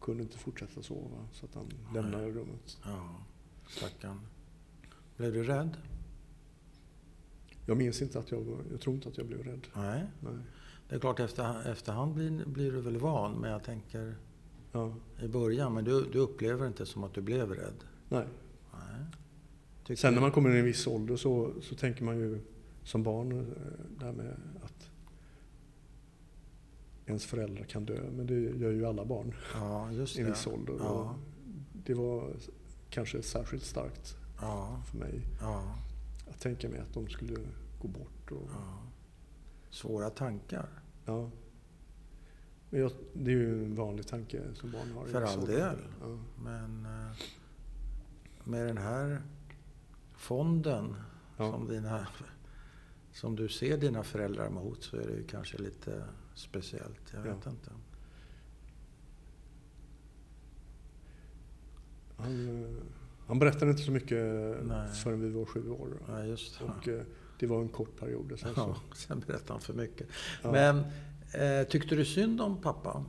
B: kunde inte fortsätta sova så att han lämnade rummet.
A: Ja, stackarn. Blev du rädd?
B: Jag minns inte att jag var, jag tror inte att jag blev rädd.
A: Nej.
B: Nej.
A: Det är klart efter, efterhand blir, blir du väl van, men jag tänker
B: Ja.
A: i början. Men du, du upplever inte som att du blev rädd?
B: Nej.
A: Nej. Tycker
B: Sen när
A: du-
B: man kommer in i en viss ålder så, så tänker man ju som barn eh, det här med att ens föräldrar kan dö. Men det gör ju alla barn.
A: Ja, just
B: i en viss
A: det.
B: ålder.
A: Ja.
B: Och Det var kanske särskilt starkt
A: Ja,
B: för mig
A: ja,
B: att tänka mig att de skulle gå bort. Och, ja.
A: ja. Svåra tankar.
B: Men jag, det är ju en vanlig tanke som barn har. i
A: För
B: viss
A: all
B: ålder.
A: del.
B: Ja.
A: Men eh, med den här fonden
B: Ja.
A: som, dina, som du ser dina föräldrar mot så är det ju kanske lite speciellt. Jag vet inte.
B: Han, eh, han berättade inte så mycket
A: Nej.
B: förrän vi var sju år.
A: Ja, just det.
B: Och eh, det var en kort period. Sen så,
A: Ja, sen berättar han för mycket.
B: ja.
A: Men eh, tyckte du synd om pappa?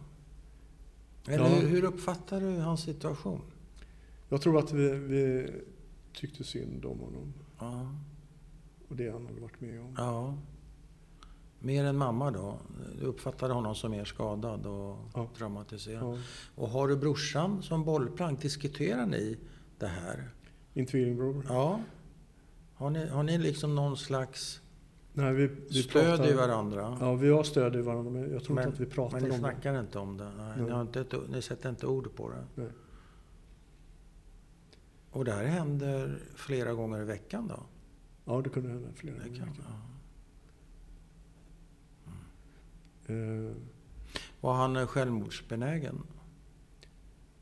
A: Eller
B: Ja.
A: hur, hur uppfattar du hans situation?
B: Jag tror att vi, vi tyckte synd om honom
A: Ja.
B: och det han hade varit med om.
A: ja. Mer än mamma då? Du uppfattade honom som mer skadad och
B: Ja.
A: traumatiserad?
B: Ja.
A: Och har du brorsan som bollplank, diskuterar ni det här?
B: Min tvillingbror.
A: Ja. Har ni, har ni liksom någon slags
B: Nej, vi, vi
A: stöd i
B: pratar-
A: varandra?
B: Ja, vi har stöd i varandra men jag tror
A: Men-
B: inte att vi pratar
A: Men ni
B: om det.
A: snackar inte om det? Nej,
B: Nej.
A: Ni, har inte ett, o- ni sätter inte ord på det?
B: Nej.
A: Och det här händer flera gånger i veckan då?
B: Ja, det kunde hända flera
A: Det
B: gånger.
A: kan,
B: Kan.
A: ja.
B: Eh,
A: Var han eh, självmordsbenägen?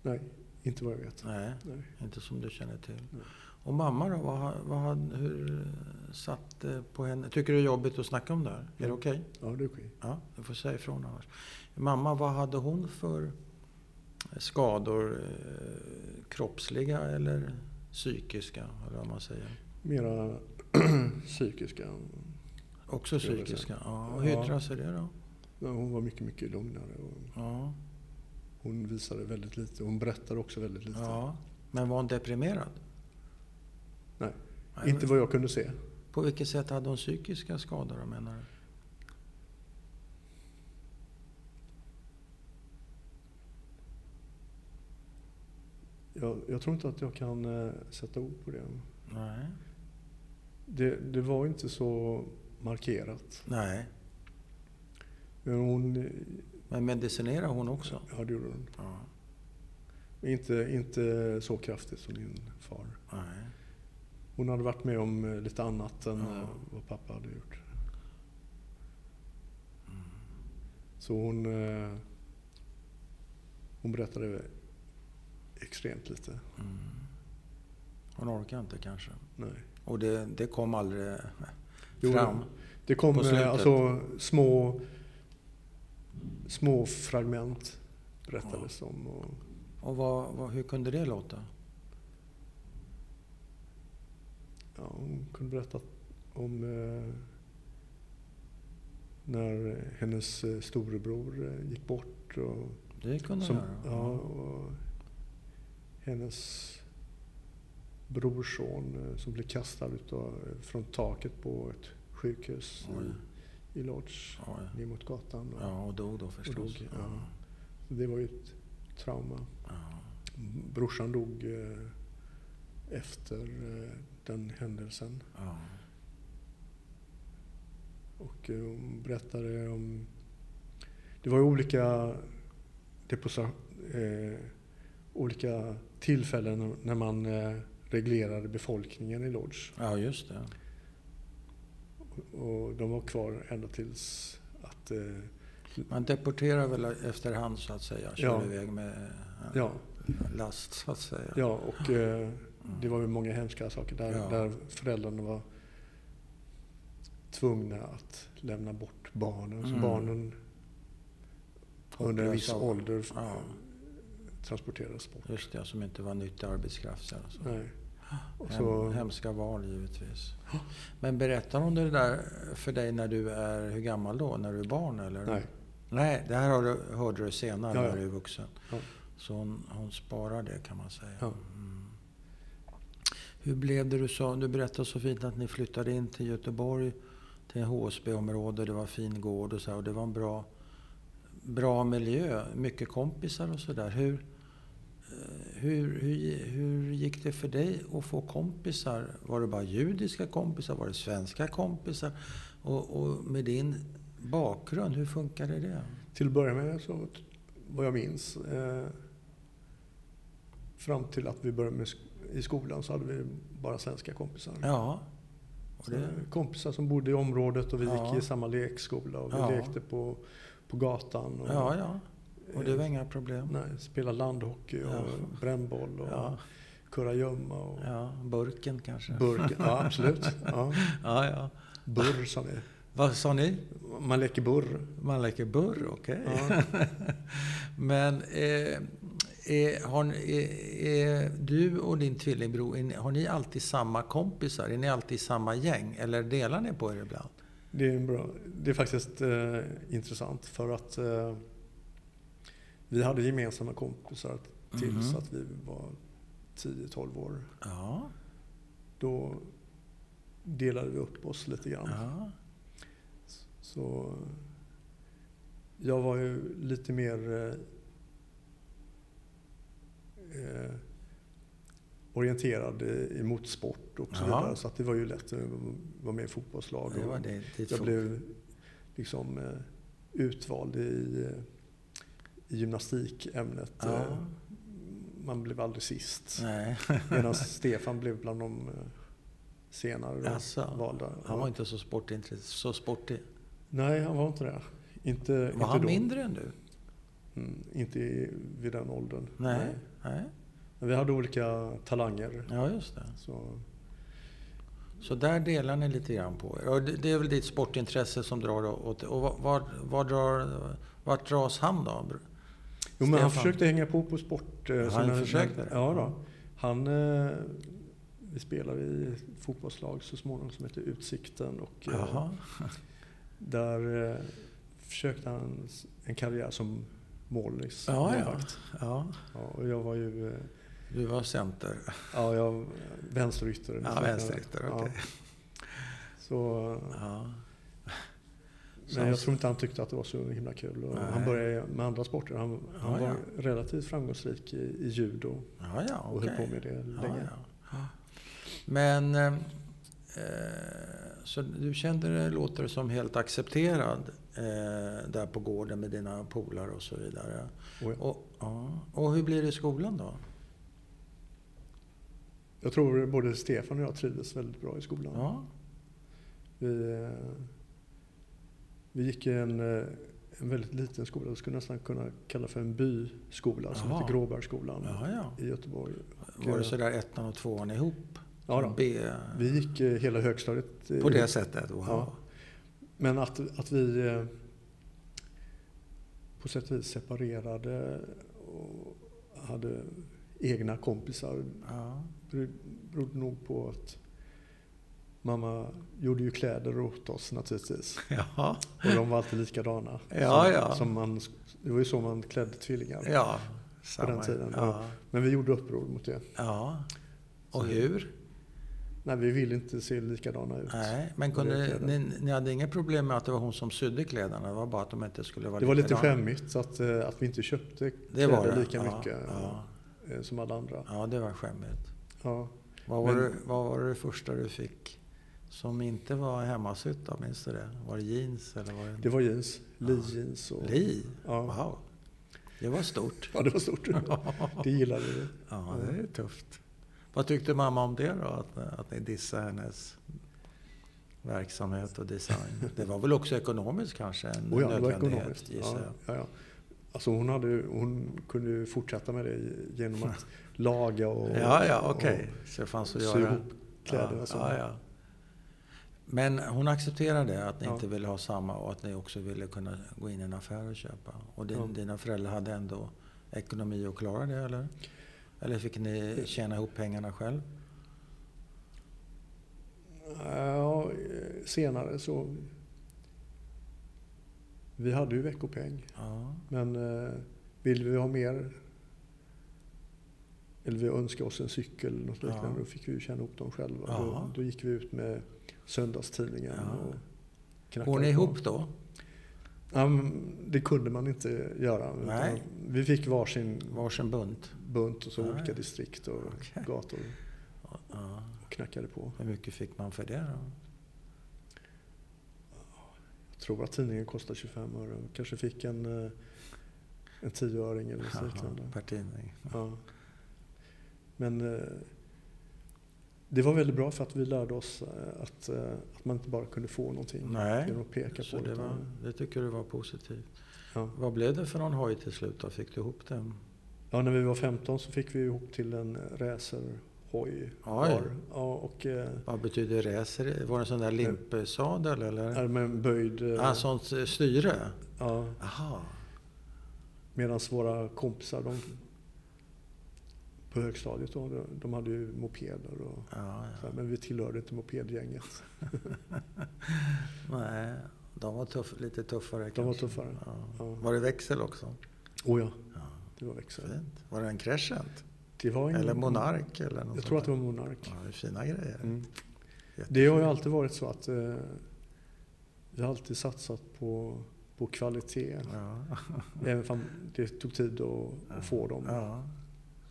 B: nej, inte vad jag vet.
A: Nej,
B: Nej.
A: inte som du känner till.
B: Nej.
A: Och mamma då? Vad, har- vad, har- hur eh, satt det på henne? Tycker du det är jobbigt att snacka om det här? Är det
B: Mm.
A: okej?
B: Ja, det är okej.
A: Ja, du får säga ifrån annars. Mamma, vad hade hon för eh, skador eh, kroppsliga eller psykiska? Eller vad man säger.
B: Mera psykiska.
A: Också
B: skulle jag vilja
A: psykiska? Ja. Och hur
B: Ja.
A: yttrar sig det då?
B: Ja, Hon var mycket, mycket lugnare. Och
A: Ja.
B: hon visade väldigt lite. Hon berättade också väldigt lite.
A: ja. Men var hon deprimerad?
B: Nej.
A: Nej,
B: Inte
A: men
B: vad jag kunde se.
A: På vilket sätt hade hon psykiska skador då, menar du?
B: Jag, jag tror inte att jag kan eh, sätta ord på det.
A: Nej.
B: det. Det var inte så markerat.
A: Nej.
B: Men hon... eh,
A: Men medicinerar hon också?
B: Ja, det gjorde hon.
A: Ja.
B: Inte, inte så kraftigt som min far.
A: Nej.
B: Hon hade varit med om eh, lite annat än
A: Ja.
B: eh, vad pappa hade gjort. Så hon, eh, hon berättade extremt lite.
A: Mm. Hon orkar inte kanske.
B: Nej.
A: Och det, det kom aldrig
B: Jo,
A: fram?
B: Det kom
A: På slutet.
B: eh, alltså små, små fragment berättades om. Och
A: Och vad, vad, hur kunde det låta?
B: Ja, hon kunde berätta om eh, när hennes eh, storebror eh, gick bort. Och,
A: Det kunde
B: som,
A: hon göra?
B: ja, och hennes brorson eh, som blev kastad utav, eh, från taket på ett sjukhus
A: Oj.
B: i, i Lodz
A: Oj.
B: ner mot gatan. Och,
A: Ja, och dog då förstås.
B: dog, ja.
A: Ja.
B: Det var ju ett trauma.
A: Ja.
B: Brorsan dog eh, efter eh, den händelsen.
A: Ja.
B: Och eh, hon berättade om... Det var ju olika, deposa, eh, olika tillfällen när man eh, reglerade befolkningen i Lodz.
A: ja, just det.
B: Och de var kvar ända tills att... Eh,
A: Man deporterar väl efterhand så att säga. Kör
B: Ja.
A: iväg med eh,
B: ja,
A: last så att säga.
B: ja, och eh,
A: Mm.
B: det var ju många hemska saker där,
A: Ja.
B: där föräldrarna var tvungna att lämna bort barnen. Så
A: Mm.
B: barnen under en viss
A: Hopplösa.
B: ålder
A: Ja.
B: transporterades bort.
A: Just det, som inte var nyttig arbetskraft. Eller så. alltså.
B: Nej. Och
A: Hem,
B: så,
A: hemska val givetvis. Men berättar hon det där för dig när du är, hur gammal då? När du är barn eller?
B: nej,
A: Nej, det här har du, hörde du senare
B: Ja, ja.
A: när du är vuxen.
B: Ja.
A: Så hon, hon sparar det kan man säga.
B: Ja.
A: Mm. Hur blev det du sa? Du berättade så fint att ni flyttade in till Göteborg, till HSB-område, det var fin gård och så här, och det var en bra, bra miljö, mycket kompisar och sådär. Hur, eh, hur, hur, hur gick det för dig att få kompisar? Var det bara judiska kompisar? Var det svenska kompisar? Och, och med din bakgrund, hur funkade det?
B: till att börja med så, t- vad jag minns, eh, fram till att vi började med sk- i skolan så hade vi bara svenska kompisar.
A: Ja. Och
B: Så,
A: det,
B: eh, Kompisar som bodde i området och vi
A: Ja.
B: gick i samma lekskola och vi
A: Ja.
B: lekte på, på gatan. Och,
A: ja, ja. Och det var
B: eh,
A: inga problem.
B: nej, spelade landhockey och
A: Ja.
B: brännboll och
A: Ja,
B: kurragömma och
A: ja, burken kanske.
B: burk. Ja, absolut. Ja.
A: Ja, ja.
B: Burr sa vi.
A: Vad sa ni?
B: Man leker burr.
A: Man leker burr, okej.
B: Ja.
A: Men eh, är, har, ni- är, är du och din tvillingbror, är, ni- har ni alltid samma kompisar? Är ni alltid i samma gäng? Eller delar ni på er ibland?
B: Det är, en bra, det är faktiskt eh, intressant för att eh, vi hade gemensamma kompisar tills
A: Mhm.
B: att vi var 10-12 år.
A: Ja.
B: Då delade vi upp oss lite grann.
A: ja.
B: Så jag var ju lite mer eh, eh, orienterad i- mot sport och så
A: Ja.
B: vidare. Så att det var ju lätt att vara med i fotbollslag.
A: Det
B: och-
A: var det. ditt
B: jag
A: fot-
B: blev liksom eh, utvald i, eh, i gymnastikämnet.
A: Ja.
B: Eh, Man blev aldrig sist.
A: Nej.
B: Medan Stefan blev bland de eh, senare då,
A: Jaså?
B: valda.
A: Han
B: Ja.
A: var inte så sportintresserad. Så sportig.
B: Nej, han var inte det. Inte, inte
A: Var han
B: då.
A: mindre än du?
B: Mm, inte i, vid den åldern.
A: Nej. Nej.
B: Men vi hade olika talanger.
A: Ja, just det.
B: Så,
A: Så där delar ni lite grann på er. Och det det är väl ditt sportintresse som drar åt Och var, var, var drar, vart dras han då?
B: Jo, men han
A: Stefan.
B: försökte hänga på på sport. eh,
A: Han
B: sådana-
A: försökte?
B: Ja, då. Han, eh, vi spelade i ett fotbollslag så småningom som hette Utsikten. Och, eh,
A: Jaha.
B: Där eh, försökte han s- en karriär som målis.
A: Ja, ja.
B: målvakt.
A: Ja,
B: ja. Och jag var ju eh,
A: du var center.
B: ja, jag, vänsterytter.
A: Ja, vänsterytter. Okej.
B: Så, eh,
A: Ja.
B: men jag tror inte han tyckte att det var så himla kul. Och
A: Nej.
B: han började med andra sporter. Han, han
A: Ja, ja.
B: var relativt framgångsrik i, i judo
A: Ja, ja,
B: och
A: okej.
B: höll på med det
A: Ja,
B: länge.
A: ja. Ja. Men... eh, Så du kände det låter som helt accepterad eh, där på gården med dina polare och så vidare.
B: Och jag,
A: Och, ja. och hur blir det i skolan då?
B: jag tror både Stefan och jag trivdes väldigt bra i skolan.
A: Ja,
B: Vi, eh, vi gick i en, eh, en väldigt liten skola, det skulle nästan kunna kalla för en byskola som
A: Jaha.
B: heter Gråbergsskolan
A: ja, ja.
B: i Göteborg.
A: Var det sådär ettan och tvåan ihop?
B: Ja, då.
A: B,
B: Vi gick eh, hela högstadiet. eh,
A: på det sättet? Wow.
B: Ja. Men att, att vi eh, på sätt och vis separerade och hade egna kompisar
A: Ja.
B: beror- berodde nog på att mamma gjorde ju kläder åt oss naturligtvis.
A: Ja.
B: Och de var alltid likadana.
A: Ja,
B: som,
A: ja.
B: Som man, det var ju så man klädde tvillingar.
A: ja.
B: den tiden,
A: Ja.
B: Men vi gjorde uppror mot det.
A: ja.
B: Så-
A: Och hur?
B: Nej, vi ville inte se likadana ut.
A: Nej, men
B: Det är
A: kunde,
B: kläder.
A: ni, ni hade inga problem med att det var hon som sydde kläderna? Det var bara att de inte skulle vara
B: Det var lite
A: likadana.
B: skämmigt att, eh, att vi inte köpte
A: Det
B: kläder
A: var det.
B: lika
A: ja,
B: mycket
A: Ja.
B: eh, som alla andra.
A: ja, det var skämmigt.
B: Ja.
A: Vad var,
B: Men-
A: det, vad var det första du fick som inte var hemmasytt? då? Minns du det? Var det jeans eller var det...
B: Det var jeans. Lee
A: Ja.
B: jeans. Och,
A: Li?
B: Ja.
A: Wow. Det var stort.
B: ja, det var stort. det gillade vi.
A: Ja,
B: Mm.
A: det är tufft. Vad tyckte mamma om det då? Att, att ni dissade hennes verksamhet och design? Det var väl också ekonomiskt kanske? En
B: Och Oh ja, det var
A: nödvändighet,
B: ekonomiskt.
A: gissar
B: Ja,
A: jag.
B: ja, ja. Alltså hon, hade, ju- hon kunde ju fortsätta med det genom att laga och,
A: Ja, ja, okej. Så det fanns att
B: och sy
A: göra.
B: ihop kläderna.
A: ja,
B: så.
A: ja, ja. Men hon accepterade att ni
B: Ja.
A: inte ville ha samma och att ni också ville kunna gå in i en affär och köpa. Och din,
B: Ja.
A: dina föräldrar hade ändå ekonomi att klara det, eller? Eller fick ni tjäna ihop pengarna själv?
B: Ja, eh, senare så... Vi hade ju veckopeng,
A: Ja.
B: men eh, vill vi ha mer eller vi önskade oss en cykel eller något
A: Ja.
B: liknande, då fick vi ju tjäna ihop dem själva.
A: Ja.
B: Då, då gick vi ut med söndagstidningen
A: Ja.
B: och knackade
A: Går ni
B: på.
A: ihop då?
B: Ja, men det kunde man inte göra. utan
A: Nej.
B: Vi fick varsin
A: Varsin bunt?
B: bunt och så
A: Nej.
B: olika distrikt och
A: Okej.
B: gator
A: Ja.
B: och knackade på.
A: Hur mycket fick man för det då?
B: Jag tror att tidningen kostade 25 öre. Vi Kanske fick en, eh, en tioöring eller något liknande.
A: Per tidning.
B: Ja. Men eh, det var väldigt bra för att vi lärde oss eh, att, eh, att man inte bara kunde få någonting
A: Nej,
B: genom att peka
A: så
B: på
A: det,
B: utan-
A: var, det tycker du var positivt.
B: ja.
A: Vad blev det för någon hoj till slut då? Fick du ihop den?
B: ja, när vi var 15 så fick vi ihop till en racerhoj.
A: Oj,
B: var. Ja, och eh,
A: vad betyder racer? Var det en sån där limpsadel eller?
B: är med en böjd... eh,
A: Ah, sånt eh, styre?
B: ja,
A: Aha.
B: Medan våra kompisar de, på högstadiet då, de- de hade ju mopeder och
A: Ja,
B: så
A: ja.
B: här, men vi tillhörde inte mopedgänget.
A: Nej, de var tuff, lite tuffare
B: De var
A: kanske.
B: tuffare.
A: Ja.
B: Ja.
A: Var det växel också?
B: Oh ja,
A: Ja,
B: det var växel.
A: fint. Var det en crescent?
B: Det var ingen,
A: Eller monark? Eller något
B: Mm. Jag tror att det
A: sånt
B: var Monark.
A: där? Ja, det är fina grejer.
B: Mm. Det
A: Jättefint.
B: har ju alltid varit så att eh, vi har alltid satsat på, på kvalitet.
A: Ja.
B: Även om det tog tid att, att få dem.
A: Ja.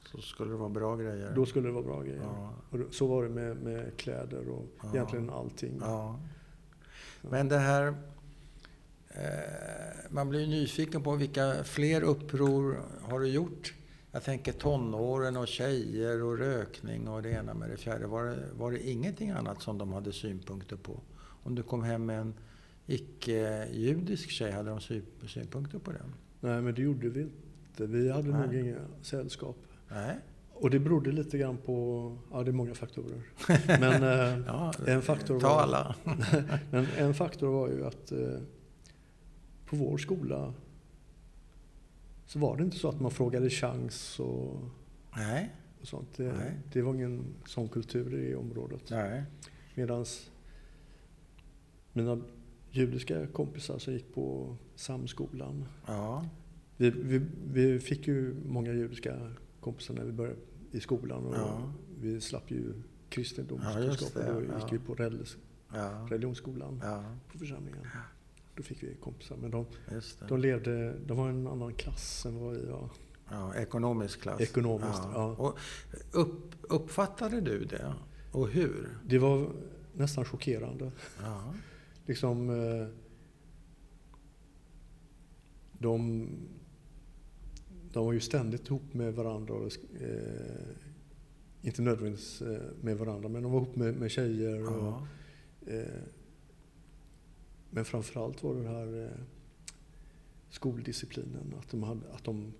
A: Så skulle det vara bra grejer.
B: Då skulle det vara bra grejer.
A: ja.
B: Och då- så var det med, med kläder och
A: Ja.
B: egentligen allting.
A: ja. Men det här... Eh, man blir ju nyfiken på vilka fler uppror har du gjort? Jag tänker tonåren och tjejer och rökning och det ena med det fjärde. Var det, var det ingenting annat som de hade synpunkter på? Om du kom hem med en icke-judisk tjej, hade de sy- synpunkter på den?
B: Nej, men det gjorde vi inte. Vi hade
A: Nej.
B: nog inga sällskap.
A: Nej?
B: Och det berodde lite grann på, ja det är många faktorer. Men, eh,
A: Ja,
B: En faktor
A: ta
B: var-
A: alla.
B: men en faktor var ju att eh, på vår skola Så var det inte så att man frågade chans och,
A: Nej.
B: och sånt. Det,
A: Nej.
B: det var ingen sån kultur i området.
A: Nej.
B: Medan mina judiska kompisar som gick på Samskolan.
A: Ja.
B: Vi, vi, vi fick ju många judiska kompisar när vi började i skolan och
A: Ja.
B: vi slapp ju
A: Ja, just
B: kristendomskunskap
A: det,
B: och då
A: ja.
B: gick vi på relig-
A: Ja.
B: religionsskolan
A: Ja.
B: på församlingen. Då fick vi kompisar. Men de,
A: Just det.
B: de levde, de var i en annan klass än vad vi var.
A: Ja, ekonomisk klass.
B: Ekonomiskt, ja.
A: Och upp, uppfattade du det? Och hur?
B: Det var nästan chockerande.
A: Ja.
B: liksom eh, de, de var ju ständigt ihop med varandra. Och, eh, inte nödvändigtvis eh, med varandra, men de var ihop med, med tjejer. Och,
A: ja.
B: eh, men framförallt var det den här eh, skoldisciplinen. Att de, hade, att de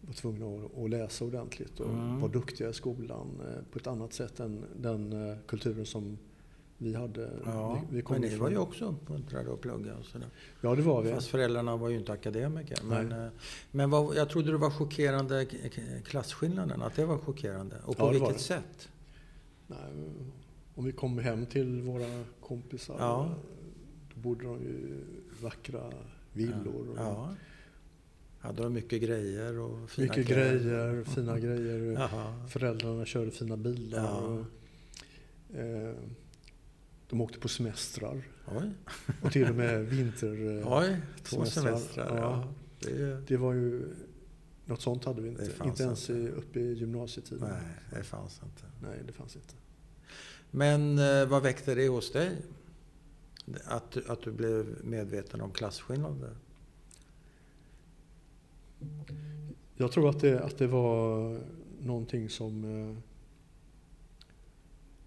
B: var tvungna att, att läsa ordentligt och
A: Mm.
B: var duktiga i skolan eh, på ett annat sätt än den eh, kulturen som vi hade.
A: ja.
B: vi, vi kom
A: men ni
B: ifrån.
A: var ju också uppmuntrade att plugga och sådär.
B: Ja, det var vi.
A: Fast föräldrarna var ju inte akademiker.
B: Nej.
A: Men, eh, men vad, jag trodde det var chockerande, k- k- klasskillnaden, att det var chockerande. Och på
B: Ja, det var
A: vilket
B: det.
A: sätt?
B: Nej, om vi kom hem till våra kompisar eh,
A: Ja.
B: då bodde de ju i vackra villor. Och
A: Ja. Hade de mycket grejer och fina
B: Mycket
A: kläder? Mm.
B: grejer, fina grejer.
A: Jaha.
B: Föräldrarna körde fina bilar.
A: Ja.
B: Och, eh, de åkte på semestrar
A: Oj,
B: och till och med vinter... eh,
A: Oj två
B: semestrar.
A: semestrar.
B: Ja.
A: Ja. Det är ju...
B: Det var ju... Något sånt hade vi
A: Det
B: inte.
A: fanns
B: Inte ens
A: inte.
B: i, uppe i gymnasietiden.
A: Nej, det fanns inte.
B: Nej, det fanns inte.
A: Men eh, vad väckte det hos dig? Att, du- att du blev medveten om klasskillnader?
B: Jag tror att det, att det var någonting som eh,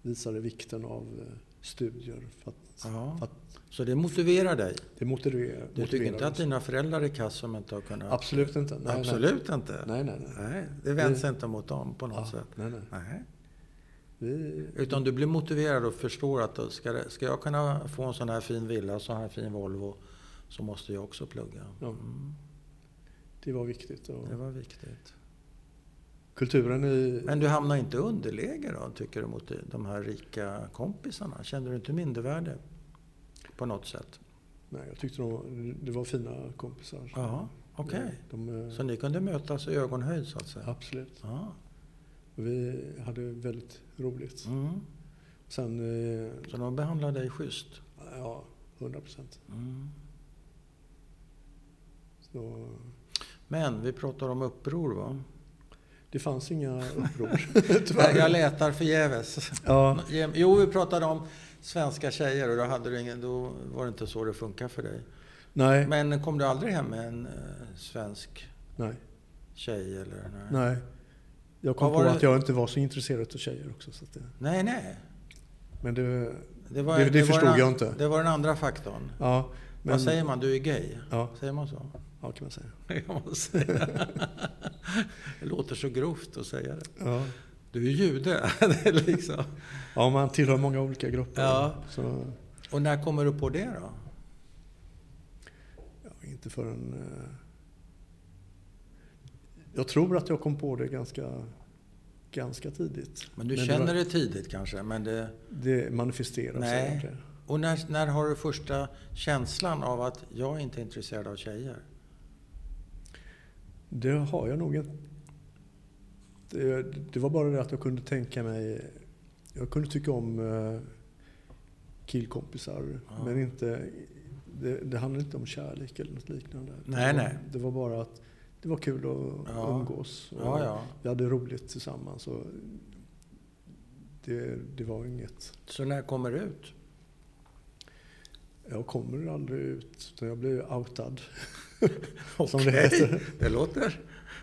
B: visade vikten av eh, studier. För att
A: Ja.
B: Att-
A: Så det motiverar dig?
B: det motiverar.
A: Du tycker inte
B: motiverar
A: att
B: oss.
A: dina föräldrar är kass som inte har kunnat...
B: Absolut inte. Nej,
A: Absolut inte?
B: Nej, nej, nej. nej.
A: Nej, det vänds
B: Det-
A: inte mot dem på något
B: Ja,
A: sätt.
B: nej, nej.
A: Nej.
B: Vi,
A: Utan du blir motiverad och förstår att då ska, det- ska jag kunna få en sån här fin villa, sån här fin Volvo, så måste jag också plugga.
B: Ja.
A: Mm.
B: det var viktigt. Och
A: Det var viktigt.
B: Kulturen i...
A: Men du hamnar inte i underläge då, tycker du, mot de här rika kompisarna? Känner du inte mindervärde på något sätt?
B: Nej, jag tyckte de, det var fina kompisar.
A: Ja, okej.
B: De, eh,
A: Så ni kunde mötas i ögonhöjd så att säga?
B: Absolut.
A: Ja.
B: Vi hade väldigt roligt.
A: Mm.
B: Sen, eh,
A: Så de behandlar dig schysst?
B: ja, 100 procent.
A: Mm. Men vi pratar om uppror va?
B: Det fanns inga uppror,
A: Jag, jag
B: tyvärr.
A: letar förgäves.
B: Ja.
A: Ge- Jo, vi pratade om svenska tjejer och då, hade du ingen, då var det inte så det funkar för dig.
B: Nej,
A: Men kom du aldrig hem med en eh, svensk
B: nej,
A: tjej? Eller, nej.
B: nej. Jag kom
A: Vad var
B: på
A: det-
B: att jag inte var så intresserad av tjejer också. Så att det,
A: nej, nej.
B: men det,
A: Det, var,
B: Det- det förstod
A: var den,
B: jag
A: an-
B: inte.
A: Det var den andra faktorn.
B: ja, men,
A: Vad säger man? Du är gay?
B: Ja,
A: Säger man så?
B: ja, kan man säga.
A: Jag måste säga. Det låter så grovt att säga det.
B: Ja.
A: Du är jude. Det är liksom.
B: ja, man tillhör många olika grupper.
A: Ja.
B: Så,
A: Och när kommer du på det då?
B: ja, inte förrän... Eh, jag tror att jag kom på det ganska, ganska tidigt.
A: Men du
B: det
A: känner
B: var-
A: det tidigt kanske? Men det...
B: Det manifesterar
A: Nej.
B: sig. inte.
A: Och när, när har du första känslan av att jag är inte är intresserad av tjejer?
B: Det har jag nog inte. Det, det var bara det att jag kunde tänka mig... Jag kunde tycka om eh, killkompisar.
A: Ja.
B: Men inte... Det, det handlade inte om kärlek eller något liknande.
A: Nej,
B: det, var-
A: nej.
B: Det var bara att det var kul att
A: Ja.
B: umgås. Och
A: Ja, ja.
B: Vi hade roligt tillsammans. Och det, det var inget...
A: Så när kommer det ut?
B: Jag kommer aldrig ut. Utan jag blev outad.
A: Okej,
B: Som det heter.
A: det låter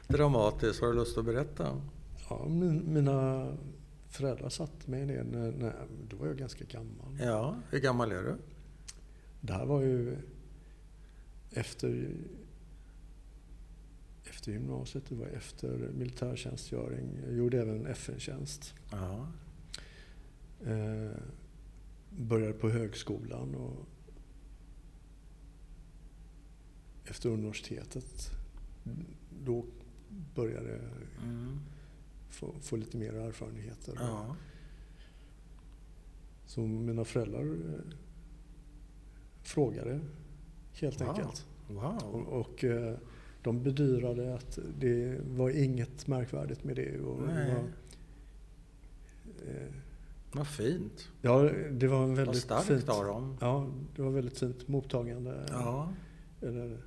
A: dramatiskt. Har du lust att berätta?
B: Ja, min, mina föräldrar satte mig ner. När, när, då var jag ganska gammal.
A: Ja, hur gammal är du?
B: Det här var ju efter, efter gymnasiet, det var efter militärtjänstgöring. Jag gjorde även FN-tjänst.
A: Ja.
B: Eh, började på högskolan och efter universitetet då började jag
A: Mm.
B: få, få lite mer erfarenheter.
A: Ja.
B: Så mina föräldrar eh, frågade helt
A: Wow.
B: enkelt.
A: Wow.
B: Och, och eh, de bedyrade att det var inget märkvärdigt med det. Och det
A: Nej.
B: var, eh,
A: Vad fint.
B: ja, det var en
A: Vad
B: väldigt
A: starkt
B: fint.
A: av dem.
B: Ja, det var väldigt fint mottagande.
A: Ja.
B: Eller,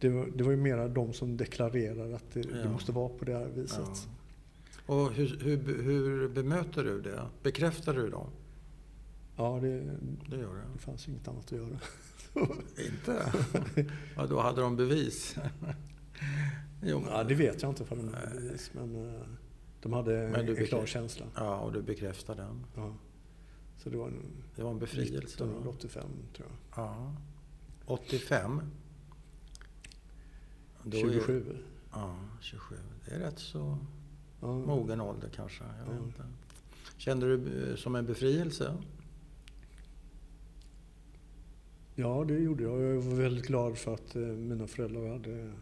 B: det, var, det var ju mera de som deklarerade att det, det
A: Ja.
B: måste vara på det här viset.
A: ja. Och hur, hur, hur bemöter du det? Bekräftar du dem?
B: Ja, det,
A: Det gör
B: det fanns ju inget annat att göra.
A: jag. Inte? ja, då hade de bevis. jo, men-
B: Ja, det vet jag inte för de
A: Nej.
B: bevis, men eh, de hade
A: Men du
B: en klar
A: vet-
B: känsla.
A: Ja, och du bekräftar den.
B: Ja. Så det var en
A: Det var en befrielse. va?
B: 1985 tror jag.
A: Ja. 85? Då är-
B: 27.
A: ja, 27. Det är rätt så
B: Ja.
A: mogen ålder kanske. Jag vet
B: Ja.
A: inte. Kände du eh, som en befrielse?
B: ja, det gjorde jag. Jag var väldigt glad för att eh, mina föräldrar hade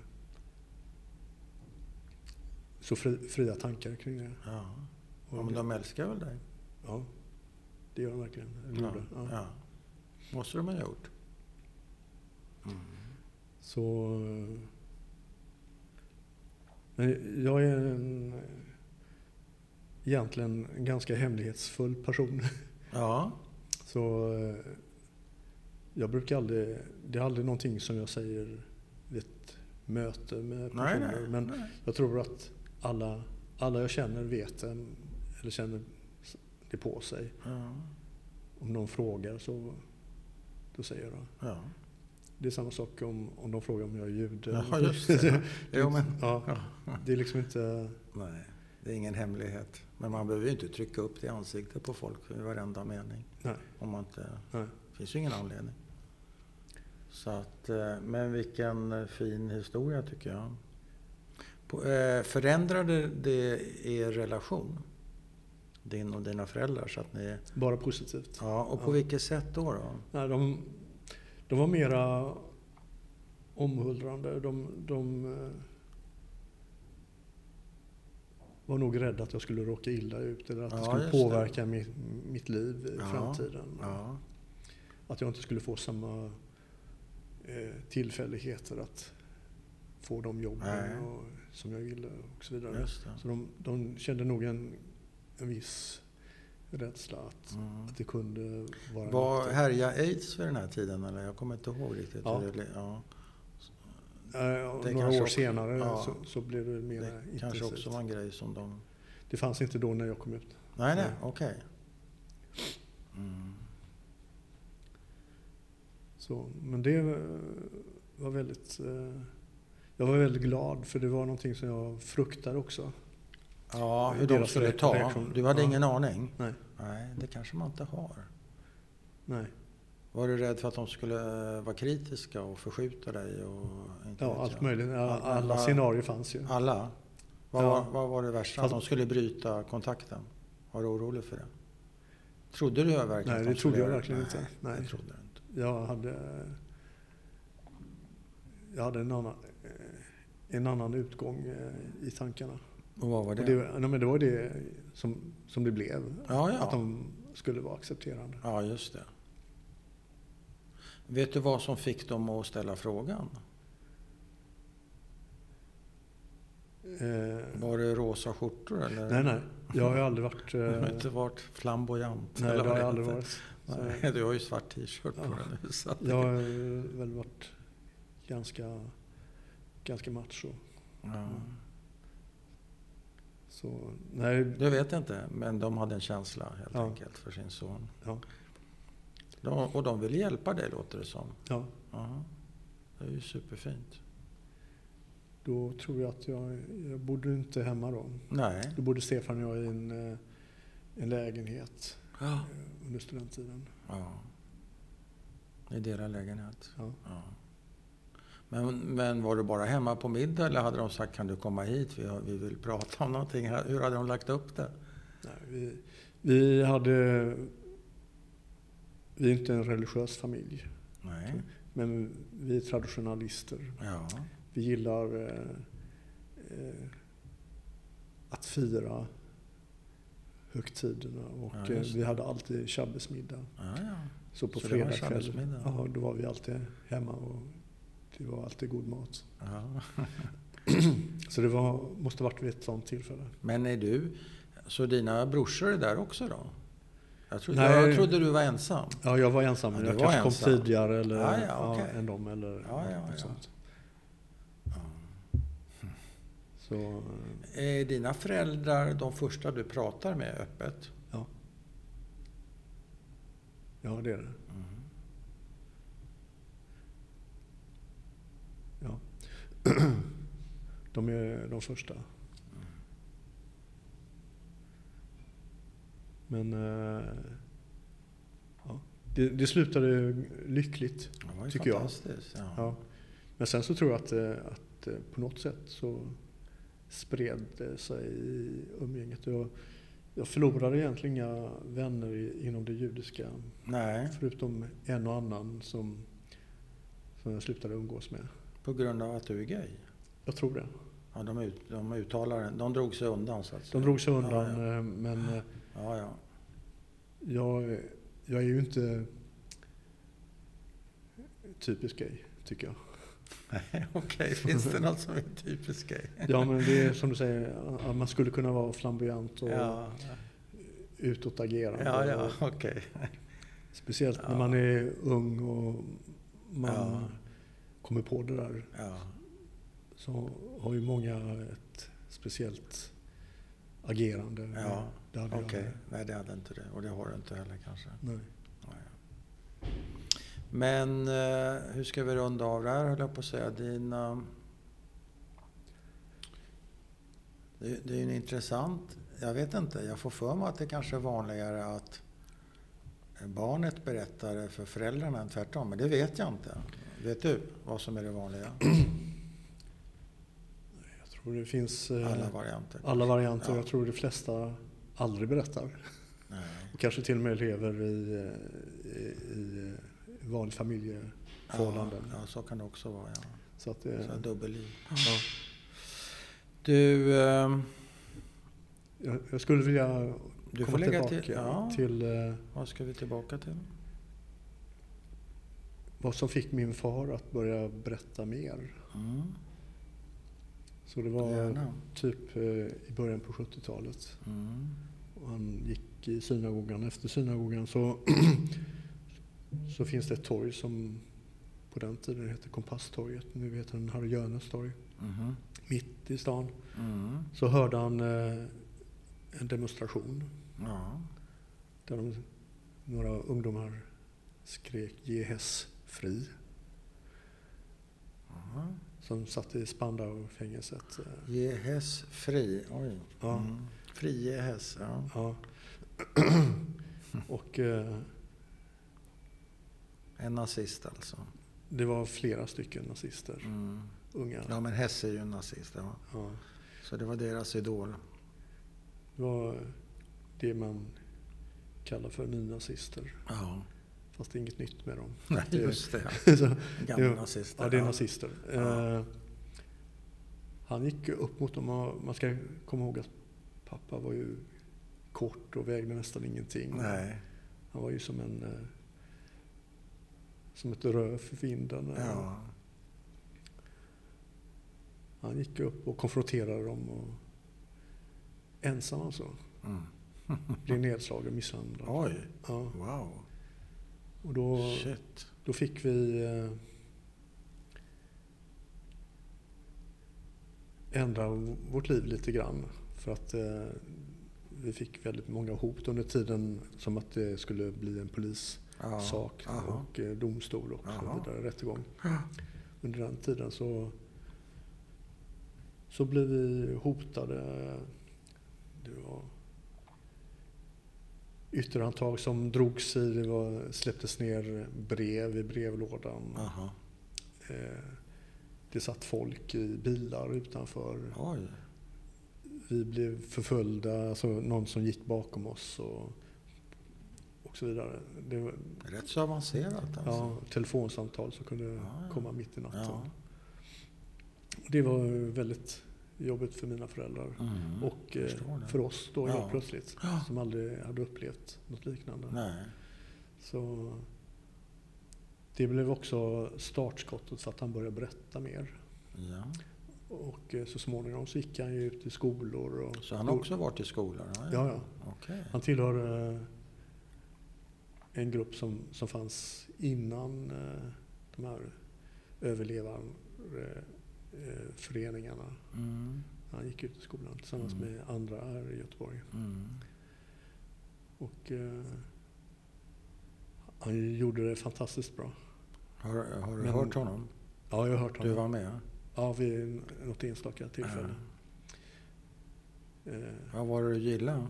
B: så fri, fria tankar kring det.
A: Ja.
B: Och
A: ja men
B: det,
A: de älskar väl dig?
B: ja, det gör de verkligen. Eller
A: Ja.
B: gjorde. Ja.
A: ja. Måste de ha gjort.
B: Så... eh, Men jag är en, eh, egentligen en ganska hemlighetsfull person.
A: Ja.
B: Så eh, jag brukar aldrig, det är aldrig någonting som jag säger vid ett möte med
A: Nej,
B: personer.
A: nej.
B: Men
A: nej.
B: jag tror att alla, alla jag känner vet det, eller känner det på sig.
A: Ja.
B: Om någon frågar så då säger jag.
A: Ja.
B: Det är samma sak om, om de frågar om jag är jude.
A: ja, just det. Jo, men,
B: ja,
A: ja.
B: det är liksom inte...
A: Nej, det är ingen hemlighet. Men man behöver ju inte trycka upp det i ansiktet på folk i varenda mening.
B: Nej.
A: Om man inte...
B: Nej.
A: Det finns ju ingen anledning. Så att, eh, men vilken eh, fin historia tycker jag. På- eh, Förändrade det er relation? Din och dina föräldrar? Så att ni,
B: Bara positivt.
A: ja, och på
B: Ja.
A: vilket sätt då? då?
B: Nej, de, de var mera omhuldrande. De, de eh, var nog rädda att jag skulle råka illa ut eller att
A: Ja,
B: det skulle
A: just
B: påverka Mitt, mitt liv i
A: Ja,
B: framtiden.
A: Ja,
B: Att jag inte skulle få samma eh, tillfälligheter att få de
A: Nej.
B: jobben och, som jag ville och så vidare.
A: just det.
B: Så de, de kände nog en, en viss rädsla att,
A: Mm.
B: att det kunde vara en
A: Var
B: nackdel.
A: härja aids vid den här tiden? Eller? Jag kommer inte ihåg riktigt.
B: Ja.
A: hur det- ja.
B: Eh,
A: Det
B: några
A: kanske
B: år
A: också-
B: senare
A: ja.
B: så, så blev det mer
A: Det kanske
B: intensivt.
A: också var en grej som de...
B: Det fanns inte då när jag kom ut.
A: Nej, nej,
B: Nej.
A: okej. Mm.
B: Så, men det eh, var väldigt... eh, Jag var väldigt glad för det var någonting som jag fruktade också.
A: Ja, hur de
B: Deras
A: skulle
B: reak-
A: ta.
B: reaktion.
A: Du hade
B: Ja.
A: ingen aning?
B: Nej.
A: Nej, det kanske man inte har.
B: Nej,
A: Var du rädd för att de skulle eh, vara kritiska och förskjuta dig? Och inte
B: ja,
A: vet
B: allt
A: jag?
B: möjligt. Alla,
A: Alla-
B: alla scenarier fanns ju.
A: Alla? Vad,
B: Ja.
A: var, vad var det värsta? Att
B: Fast-
A: de skulle bryta kontakten? Var du orolig för det? Trodde du verkligen att de
B: Nej, det
A: skulle
B: trodde jag
A: göra
B: verkligen inte.
A: Nej, det
B: Nej.
A: trodde du inte.
B: Jag hade... Jag hade en annan, eh, en annan utgång eh, i tankarna.
A: Och vad var
B: Och
A: det?
B: det, nej, men det var det som, som det blev.
A: ja, ja.
B: Att de skulle vara accepterande.
A: ja, just det. Vet du vad som fick dem att ställa frågan?
B: Eh,
A: Var det rosa skjortor eller?
B: Nej, nej. Jag har ju aldrig varit... eh,
A: Du har inte varit flamboyant?
B: nej, det
A: eller
B: har
A: vad
B: jag aldrig
A: heter.
B: varit. Så
A: Nej, du har ju svart t-shirt på
B: Ja.
A: dig nu. Så att,
B: jag har eh, väl varit ganska, ganska macho.
A: ja.
B: Så, nej,
A: Du vet inte, men de hade en känsla helt
B: Ja.
A: enkelt för sin son.
B: Ja.
A: De, och de ville hjälpa dig låter det som.
B: ja,
A: Ja. Det är ju superfint.
B: då tror jag att jag... Jag bodde inte hemma då.
A: Nej.
B: Då bodde Stefan och jag i en, eh, en lägenhet
A: Ja.
B: eh, under studenttiden.
A: I deras lägenhet.
B: Ja.
A: Men, men var du bara hemma på middag eller hade de sagt kan du komma hit? Vi, har, vi vill prata om någonting. här." Hur hade de lagt upp det?
B: Nej, vi, vi hade... Vi är inte en religiös familj,
A: Nej.
B: men vi är traditionalister.
A: Ja.
B: Vi gillar eh, eh, att fira högtiderna och
A: Ja,
B: eh,
A: just det.
B: vi hade alltid tjabbesmiddag.
A: Ja, ja.
B: Så på
A: Så det var en
B: fredagskvällen,
A: tjabbesmiddag?
B: ja, då var vi alltid hemma och det var alltid god mat.
A: ja.
B: Så det var, måste varit vid ett sånt tillfälle.
A: Men är du... Så dina brorsor är där också då? Jag trodde,
B: Nej.
A: jag trodde du var ensam.
B: Ja, jag var ensam.
A: Ja,
B: men
A: du
B: jag
A: var
B: kanske kom
A: ensam.
B: tidigare eller,
A: Ja, ja, okej.
B: än dem eller
A: Ja, ja,
B: något
A: ja.
B: sånt.
A: Ja.
B: Så, eh,
A: Är dina föräldrar de första du pratar med öppet?
B: ja, det är det.
A: Mm.
B: De är de första. Men eh, ja, det, det slutade lyckligt.
A: Det var ju
B: Tycker jag.
A: fantastiskt. Ja.
B: Ja. Men sen så tror jag att, eh, att eh, på något sätt så spred det sig i umgänget. Jag, jag förlorade egentligen inga vänner i, inom det judiska.
A: Nej,
B: Förutom en och annan som, som jag slutade umgås med.
A: på grund av att du är gay.
B: Jag tror det.
A: Ja, de, ut, de uttalar De drog sig undan så att
B: De
A: säga.
B: drog sig undan
A: Ja,
B: eh, men eh,
A: ja. ja.
B: Jag, jag är ju inte typisk gay, tycker jag.
A: Nej, Okej, finns det något som är typiskt gay?
B: Ja, men det är som du säger, att man skulle kunna vara flamboyant och
A: Ja,
B: utåtagerande.
A: ja, ja
B: Och
A: okej.
B: Speciellt när
A: Ja.
B: man är ung och man
A: Ja.
B: kommer på det där
A: Ja.
B: så har ju många ett speciellt agerande.
A: Ja,
B: det hade
A: Okej,
B: jag-
A: nej det hade inte det. Och det har du inte heller kanske.
B: Nej.
A: Ja, ja. Men eh, hur ska vi runda av det här höll jag på att säga. Dina... Det, det är ju en intressant... Jag vet inte, jag får för mig att det kanske är vanligare att barnet berättar det för föräldrarna än tvärtom. Men det vet jag inte. Vet du vad som är det vanliga?
B: Jag tror det finns eh,
A: Alla varianter?
B: alla varianter.
A: Ja.
B: Jag tror de flesta aldrig berättar.
A: Nej.
B: Och kanske till och med lever i, eh, i, i eh, vanlig familjeförhållanden.
A: Ja, ja, så kan det också vara. Ja.
B: Så att det,
A: Så här dubbelliv.
B: Eh. ja.
A: Du, eh,
B: jag, jag skulle vilja
A: du får
B: komma
A: lägga
B: tillbaka
A: till...
B: till,
A: Ja,
B: eh,
A: vad ska vi tillbaka till?
B: vad som fick min far att börja berätta mer.
A: Mm.
B: Så det var
A: Gärna.
B: typ eh, i början på 70-talet.
A: Mm.
B: Och han gick i synagogan. Efter synagogan så, så finns det ett torg som på den tiden hette Kompasstorget. Nu heter den Harry Jönes torg.
A: Mhm.
B: Mitt i stan.
A: Mm.
B: så hörde han eh, en demonstration
A: Ja.
B: där de, några ungdomar skrek ge Hess fri
A: Jaha.
B: som satt i Spandau-fängelset. Eh,
A: Ge häss fri. Oj.
B: Ja.
A: Mm. Frige häss. Ja.
B: Ja. och eh,
A: En nazist alltså.
B: det var flera stycken nazister,
A: Mm.
B: unga.
A: Ja men Hess är ju en nazist. Ja.
B: Ja.
A: Så det var deras idol.
B: Det var det man kallar för nynazister.
A: Ja.
B: Fast det är inget nytt med dem.
A: Nej,
B: Det-
A: just det.
B: så,
A: Gamla
B: det-
A: nazister.
B: ja, det är nazister.
A: Ja.
B: Eh, han gick upp mot dem och man ska komma ihåg att pappa var ju kort och vägde nästan ingenting.
A: Nej.
B: Han var ju som en eh, som ett rö för vinden.
A: Ja.
B: Han gick upp och konfronterade dem. Och, ensam alltså.
A: Mm.
B: Blev nedslagen och misshandlad.
A: Oj.
B: Ja.
A: Wow.
B: Och då,
A: Shit.
B: då fick vi eh, ändra v- vårt liv lite grann. För att eh, vi fick väldigt många hot under tiden som att det skulle bli en polissak
A: Ja. Aha.
B: och eh, domstol och
A: Jaha.
B: så vidare, rättegång. Under den tiden så, så blev vi hotade. Det var ytterhandtag som drogs i, det var, släpptes ner brev i brevlådan.
A: Aha.
B: Eh, Det satt folk i bilar utanför.
A: Oj.
B: Vi blev förföljda, alltså någon som gick bakom oss och, och så vidare. Det var,
A: Rätt så avancerat alltså. Ah,
B: ja, telefonsamtal som kunde
A: Ja, ja.
B: komma mitt i natten.
A: Ja.
B: Det var väldigt jobbigt för mina föräldrar
A: Mm.
B: och eh,
A: förstår det.
B: för oss då
A: Ja.
B: helt plötsligt
A: Ja.
B: som aldrig hade upplevt något liknande.
A: Nej.
B: Så det blev också startskottet för att han började berätta mer.
A: Ja.
B: Och eh, så småningom så gick han ju ut i skolor. Och
A: Så han har också varit i skolan?
B: Ja, ja.
A: Okej.
B: Han tillhör eh, en grupp som, som fanns innan eh, de här överlevarföreningarna.
A: Mm.
B: Han gick ut i skolan tillsammans
A: Mm.
B: med andra här i Göteborg.
A: Mm.
B: Och eh, han gjorde det fantastiskt bra.
A: Har, har du
B: Men-
A: hört honom?
B: Ja, jag har hört
A: Du
B: honom.
A: var med?
B: Ja, vid en- något enstaka tillfälle. Eh,
A: Ja, vad var det du gillade?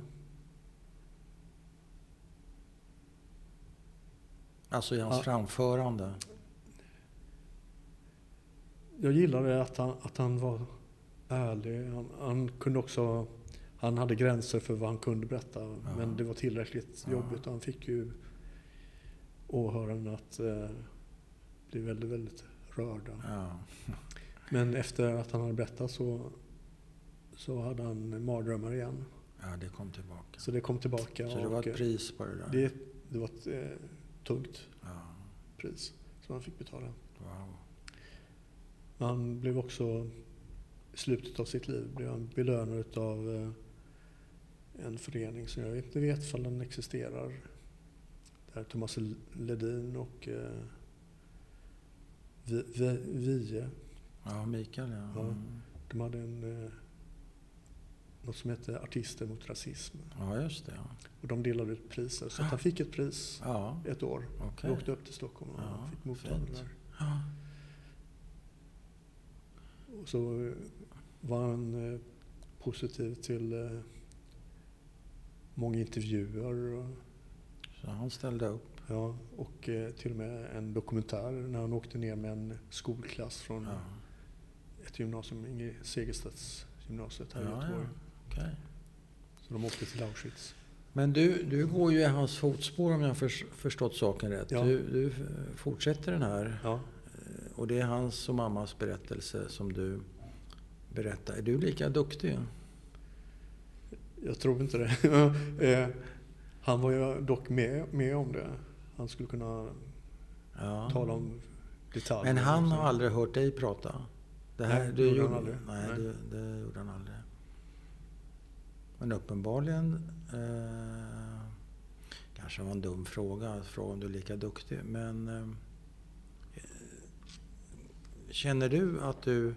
A: Alltså i hans
B: Ja.
A: framförande?
B: Jag gillade att han, att han var ärlig. Han, han kunde också... Han hade gränser för vad han kunde berätta, men det var tillräckligt
A: Ja.
B: jobbigt. Och han fick ju åhörarna att eh, bli väldigt, väldigt rörda.
A: Ja.
B: Men efter att han hade berättat så, så hade han mardrömmar igen.
A: ja, det kom tillbaka.
B: Så det kom tillbaka.
A: Så det var ett
B: och, eh,
A: pris på det där?
B: det, det var ett eh, tungt
A: Ja.
B: pris som han fick betala.
A: Wow.
B: Men Han blev också, i slutet av sitt liv, blev han belönad av eh, en förening som jag inte vet ifall den existerar. Där Thomas L- Ledin och eh, Vi- Vi- Vie,
A: Ja, Mikael ja.
B: Ja.
A: Mm.
B: de hade en, eh, något som hette Artister mot rasism.
A: Ja, just det. Ja,
B: Och de delade ut priser. Så att han fick ett pris
A: ja
B: ett år.
A: Ah. okej.
B: Vi åkte upp till Stockholm och
A: Ja,
B: han fick motta det
A: fint.
B: där.
A: Ja.
B: Och så eh, var han eh, positiv till eh, många intervjuer. Och,
A: Så han ställde upp.
B: ja, och eh, till och med en dokumentär när han åkte ner med en skolklass från
A: Ja,
B: ett gymnasium, Inge Segerstedts gymnasiet här i
A: Ja,
B: Göteborg.
A: okej.
B: Så de åkte till Auschwitz.
A: Men du, du går ju i hans fotspår om jag har förs- förstått saken rätt.
B: Ja.
A: Du, du f- fortsätter den här
B: Ja,
A: och det är hans och mammas berättelse som du berättar. Är du lika duktig?
B: jag tror inte det.
A: Mm.
B: Eh, han var ju dock med, med om det. Han skulle kunna
A: Ja.
B: tala om detaljer.
A: Men han
B: också.
A: har aldrig hört dig prata? Det
B: Nej,
A: du
B: det gjorde han
A: gjorde-
B: aldrig.
A: Nej,
B: Nej.
A: Det, det gjorde han aldrig. Men uppenbarligen eh, kanske var en dum fråga, att fråga om du är lika duktig. Men eh, känner du att du,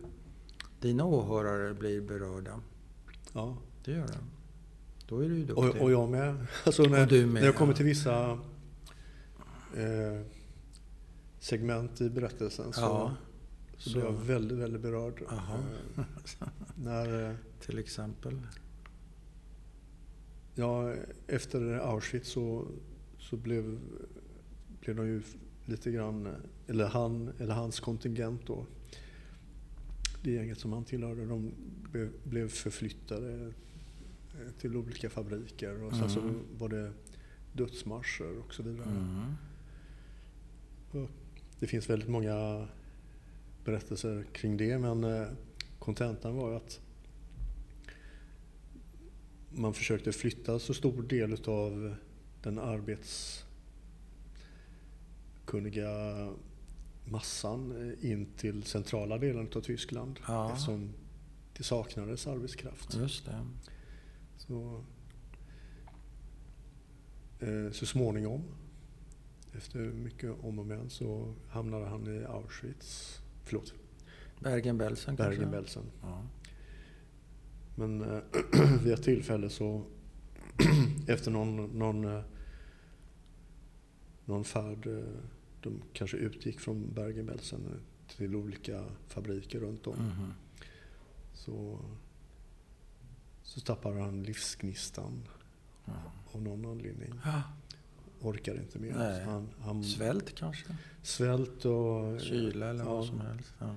A: dina åhörare blir berörda?
B: Ja.
A: Det gör de. Då är du ju duktig.
B: Och, och jag med. Alltså när,
A: Typ. Och du med,
B: när jag kommer
A: ja.
B: till vissa eh, segment i berättelsen så,
A: Ja,
B: så blir jag
A: så-
B: väldigt, väldigt berörd.
A: Aha.
B: Eh, när, eh,
A: Till exempel.
B: ja, efter Auschwitz så, så blev, blev de ju lite grann, eller, han, eller hans kontingent då, det gänget som han tillhörde, de blev, blev förflyttade eh, till olika fabriker och sen så
A: Mm.
B: var det dödsmarscher och så vidare.
A: Mm.
B: Det finns väldigt många berättelser kring det men eh, kontentan var ju att man försökte flytta så stor del av den arbetskunniga massan eh, in till centrala delen av Tyskland
A: Ja.
B: eftersom det saknades arbetskraft.
A: Just det.
B: Så, eh, så småningom, efter mycket om och men, så hamnade han i Auschwitz. Förlåt,
A: Bergen-Belsen kanske?
B: Bergen-Belsen.
A: Ja.
B: Men eh, vid ett tillfälle så, efter någon, någon, eh, någon färd, eh, de kanske utgick från Bergen-Belsen eh, till olika fabriker runt om,
A: Mhm.
B: så, så tappade han livsgnistan
A: Ja.
B: av någon anledning.
A: Ah.
B: orkade inte mer.
A: Nej.
B: Så Han, han
A: Svält kanske?
B: svält och
A: Kyla eller vad
B: ja,
A: som helst. Ja.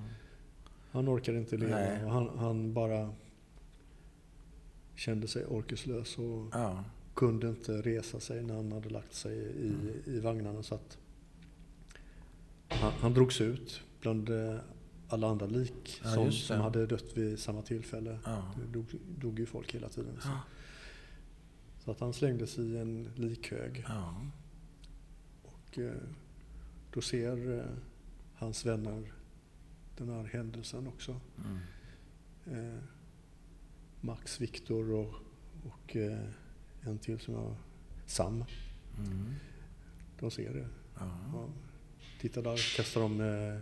B: Han orkade inte
A: Nej.
B: leva. Och han, han bara kände sig orkeslös och
A: Ja.
B: kunde inte resa sig när han hade lagt sig i,
A: Mm.
B: i vagnarna. Så att han, han drogs ut bland eh, alla andra lik
A: Ja,
B: som,
A: just det.
B: som hade dött vid samma tillfälle.
A: Ja.
B: Det dog, dog ju folk hela tiden. Så.
A: Ja.
B: så att han slängdes i en likhög.
A: Ja.
B: Och eh, då ser eh, hans vänner den här händelsen också.
A: Mm.
B: Eh, Max, Viktor och, och eh, en till som jag... Sam.
A: Mm.
B: De ser det.
A: Ja.
B: Ja. Titta där kastar de eh,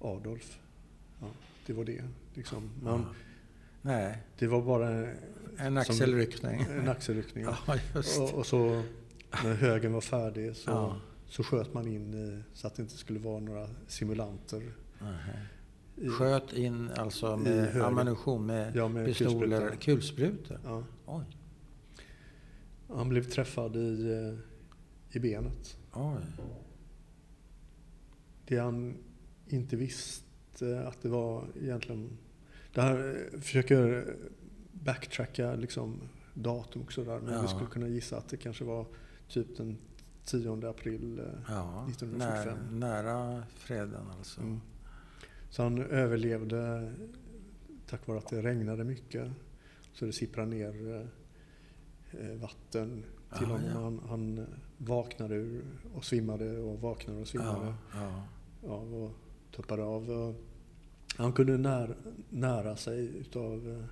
B: Adolf. Ja, det var det. Liksom. Men
A: Ja. Nej,
B: det var bara eh,
A: en axelryckning.
B: en axelryckning.
A: Ja, just
B: och, och så när högen var färdig så,
A: Ja.
B: så sköt man in i, så att det inte skulle vara några simulanter.
A: Nähä.
B: I,
A: Sköt in alltså
B: I
A: med
B: höger.
A: ammunition, med
B: ja, med
A: pistoler,
B: kulsprutan.
A: kulsprutor?
B: Ja.
A: Oj,
B: Han blev träffad i, eh, i benet.
A: oj.
B: Det han inte visste att det var egentligen... Det här eh, försöker backtracka liksom datum och sådär. Men
A: Ja.
B: vi skulle kunna gissa att det kanske var typ den 10 april. eh.
A: Ja,
B: 1945.
A: Nära, nära freden alltså.
B: Mm. Så han överlevde tack vare att det regnade mycket. Så det sipprade ner eh, eh, vatten till
A: Ah,
B: honom.
A: ja.
B: Han, han vaknade ur och svimmade och vaknade och svimmade.
A: Ja, ja.
B: av och tuppade av. Och Han kunde nära, nära sig utav... eh,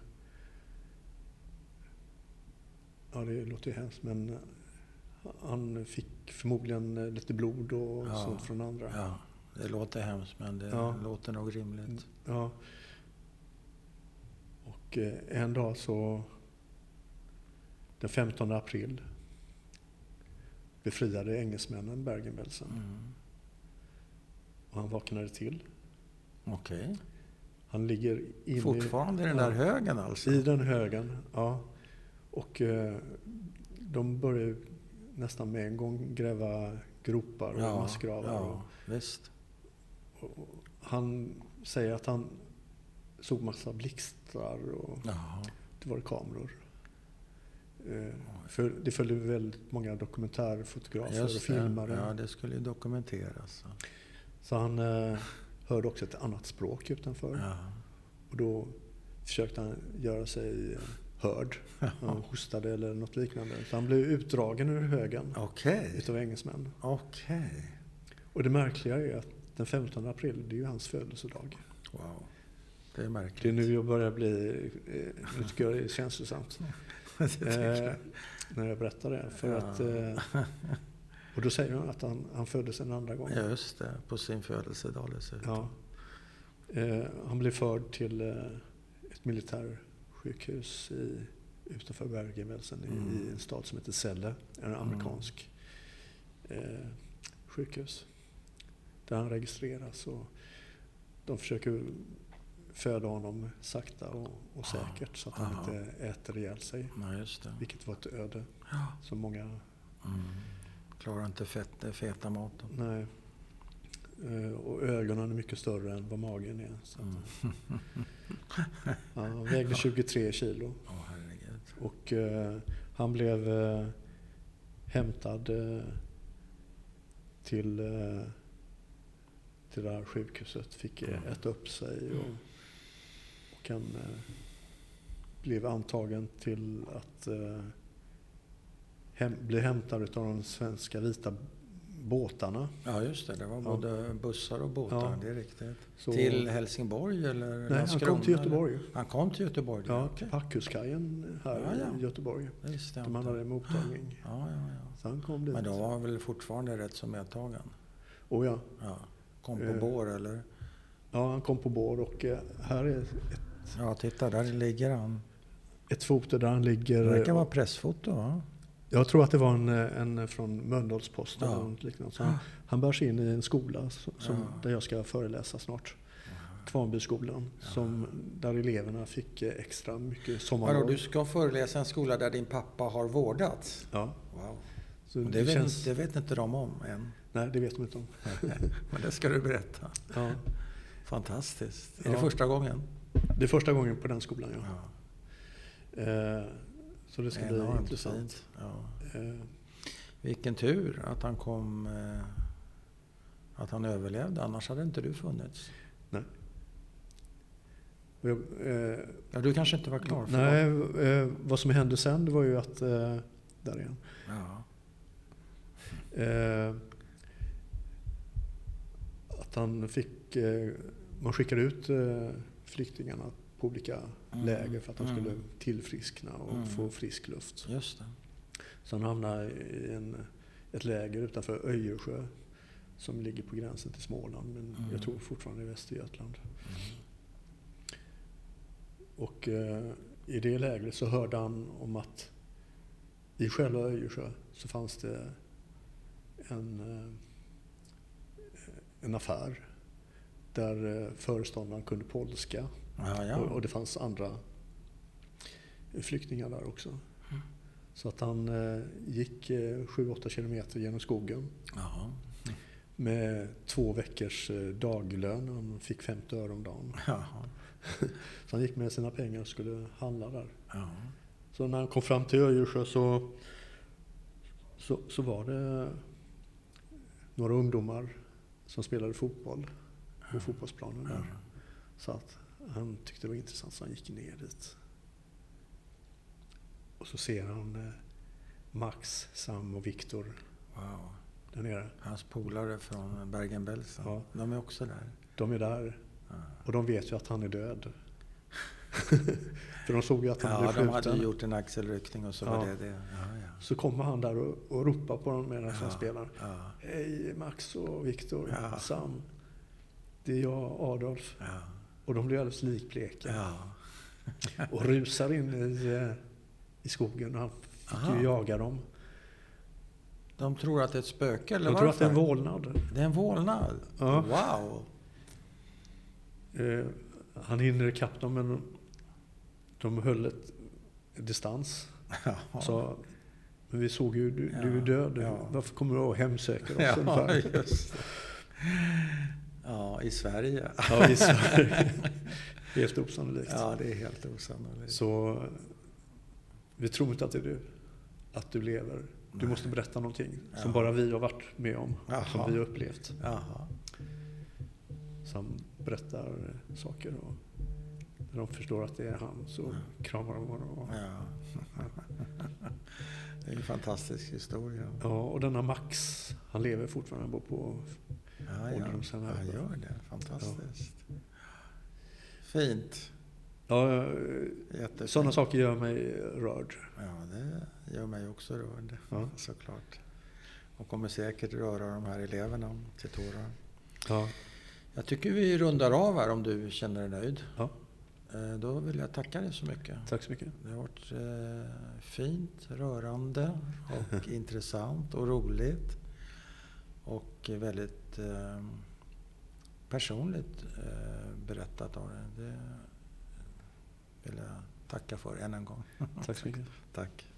B: Ja, det låter ju hemskt men eh, han fick förmodligen eh, lite blod och
A: Ja.
B: sånt från andra.
A: ja. Det låter hemskt men det
B: Ja.
A: låter nog rimligt.
B: Ja. Och eh, en dag så, den 15 april, befriade engelsmännen Bergen-Belsen.
A: Mm.
B: Och han vaknade till.
A: Okej.
B: Han ligger inne i
A: Fortfarande i den där
B: Ja.
A: högen alltså?
B: I den högen, ja. Och eh, de började ju nästan med en gång gräva gropar och massgravar.
A: ja, visst.
B: Och, och han säger att han såg massa blixtar och
A: Jaha.
B: det var kameror. Eh, för det följde väldigt många dokumentärfotografer och
A: det.
B: filmare.
A: Ja, det skulle ju dokumenteras. så.
B: Så han eh, hörde också ett annat språk utanför.
A: Ja.
B: Och då försökte han göra sig eh, hörd. Han hostade eller något liknande. Så han blev utdragen ur högen
A: Okej,
B: utav engelsmän.
A: okej.
B: Och det märkliga är att den 15 april, det är ju hans födelsedag.
A: Wow. Det är märkligt.
B: Det är nu jag börjar bli, eh, nu tycker jag det är känslosamt.
A: Det tycker jag.
B: Eh, när jag berättar det. För
A: Ja.
B: att, eh, och då säger han att han, han föddes en andra gång.
A: Ja, just det. På sin födelsedag dessutom.
B: Ja. Eh, han blev förd till eh, ett militärsjukhus i, utanför Bergen-Belsen
A: Mm.
B: i, i en stad som heter Celle. En amerikansk eh, sjukhus. Där han registreras och de försöker föda honom sakta och,
A: Ah.
B: och säkert så att han
A: Aha.
B: inte äter ihjäl sig.
A: Nej, just det.
B: Vilket var ett öde
A: Ja.
B: som många
A: Mm. Klarar inte fett, feta maten.
B: Nej. Eh, Och ögonen är mycket större än vad magen är. Så att,
A: Mm.
B: ja, han vägde 23 kilo.
A: Åh, herregud.
B: Och eh, han blev eh, hämtad eh, till, eh, till det här sjukhuset. Fick eh, äta upp sig.
A: Mm.
B: Och, och han eh, blev antagen till att eh, hem, bli hämtad av de svenska vita båtarna.
A: Ja, just det. Det var
B: Ja.
A: både bussar och båtar.
B: Ja.
A: Det är riktigt.
B: Så-
A: Till Helsingborg eller
B: Nej, han
A: Landskrona,
B: kom till
A: eller?
B: Göteborg.
A: Han kom till Göteborg?
B: Ja,
A: Okej.
B: Parkhuskajen här
A: Ja, ja.
B: i Göteborg.
A: Det visste jag
B: Där man
A: inte.
B: hade en mottagning.
A: Ja, ja, ja.
B: Så han kom dit.
A: Men då var han väl fortfarande rätt så medtagen?
B: Oh, ja.
A: Ja. Kom på
B: Eh.
A: bår eller?
B: ja, han kom på bår och eh, här är ett,
A: Ja, titta där ligger han.
B: ett foto där han ligger.
A: Det verkar vara pressfoto va?
B: Jag tror att det var en, eh, en från Mölndalsposten
A: Ja. Ah.
B: eller något liknande. Så han, han bärs in i en skola som, som,
A: Ja.
B: där jag ska föreläsa snart. Kvarnbyskolan. Som, där eleverna fick eh, extra mycket
A: Vadå,
B: sommarlov.
A: du ska föreläsa i en skola där din pappa har vårdats?
B: Ja,
A: Wow.
B: så
A: Det,
B: det,
A: vet,
B: känns...
A: det vet inte de om än.
B: Nej, det vet de inte om.
A: Men det ska du berätta.
B: Ja.
A: Fantastiskt. Är
B: Ja.
A: det första gången?
B: Det är första gången på den skolan, ja.
A: Ja.
B: Eh, så det ska bli
A: Enormt
B: intressant.
A: fint. Ja.
B: Eh,
A: Vilken tur att han kom... Eh, att han överlevde. Annars hade inte du funnits.
B: Nej. Och jag, eh,
A: Ja, du kanske inte var klar för
B: nej, eh, vad som hände sen det var ju att... Eh, där igen.
A: det? Ja.
B: Eh, att han fick... Eh, man skickade ut eh, flyktingarna på olika
A: Mm.
B: läger för att de
A: Mm.
B: skulle Mm. tillfriskna och
A: Mm.
B: få frisk luft.
A: Just det.
B: Så han hamnade i en, ett läger utanför Öjersjö som ligger på gränsen till Småland men
A: Mm.
B: jag tror fortfarande i Västergötland. Och eh, i det lägret så hörde han om att i själva Öjersjö så fanns det en, eh, en affär där eh, föreståndaren kunde polska
A: Ja,
B: och, och
A: ja.
B: det fanns andra flyktingar där också. Så att han eh, gick eh, 7-8 kilometer genom skogen
A: Jaha.
B: med två veckors eh, daglön. Han fick 50 öre om dagen.
A: Jaha.
B: Så han gick med sina pengar och skulle handla där.
A: Ja.
B: Så när han kom fram till Öjersjö så, så, så var det några ungdomar som spelade fotboll på fotbollsplanen där. Så att han tyckte det var intressant så han gick ner dit. Och så ser han eh, Max, Sam och Viktor
A: Wow.
B: där nere.
A: Hans polare från Bergen-Belsen.
B: Ja.
A: De är också där.
B: De är där
A: Ja.
B: och de vet ju att han är död. För de såg ju att han
A: Ja,
B: blev
A: de
B: skjuten.
A: hade ju gjort en axelryckning och så var
B: Ja.
A: det det. Ja, ja.
B: Så kommer han där och, och ropar på dem medan han
A: Ja.
B: spelar.
A: Ja,
B: Hej Max och Viktor,
A: Ja.
B: Sam. Det är jag, Adolf.
A: ja,
B: Och de blir alldeles likbleka
A: ja.
B: och rusar in i, eh, i skogen. Och han fick
A: Aha.
B: ju jaga dem.
A: De tror att det är ett spöke, eller
B: De tror att det är en
A: varför?
B: vålnad.
A: Det är en vålnad?
B: Ja.
A: Wow!
B: Eh, han hinner ikapp dem men de höll ett distans.
A: Ja.
B: Så, men vi såg ju, du, du är
A: Ja,
B: död.
A: ja.
B: Varför kommer du och hemsöker oss?
A: Ja,
B: ungefär?
A: just det. Ja, i Sverige.
B: ja, i Sverige. Helt osannolikt.
A: Ja, det är helt osannolikt.
B: Så vi tror inte att det är du. Att du lever. Du
A: Nej.
B: måste berätta någonting som
A: Ja.
B: bara vi har varit med om.
A: Jaha.
B: Som vi har upplevt.
A: Jaha.
B: Så han berättar eh, saker. Och när de förstår att det är han så kramar de honom. Och,
A: Ja. Det är en fantastisk historia.
B: Ja, och denna Max, han lever fortfarande. Han bor på...
A: Ja, ja.
B: Ålderdomshem här.
A: ja gör det. Fantastiskt. Fint.
B: Ja,
A: Jättefint.
B: sådana saker gör mig rörd.
A: Ja, det gör mig också rörd.
B: Ja.
A: Såklart. Och kommer säkert röra de här eleverna till tårar.
B: Ja.
A: Jag tycker vi rundar av här om du känner dig nöjd.
B: Ja.
A: Eh, Då vill jag tacka dig så mycket.
B: Tack så mycket.
A: Det har varit eh, fint, rörande och intressant och roligt. Och väldigt eh, personligt eh, berättat av dig. Det vill jag tacka för än en gång.
B: Tack så mycket.
A: Tack.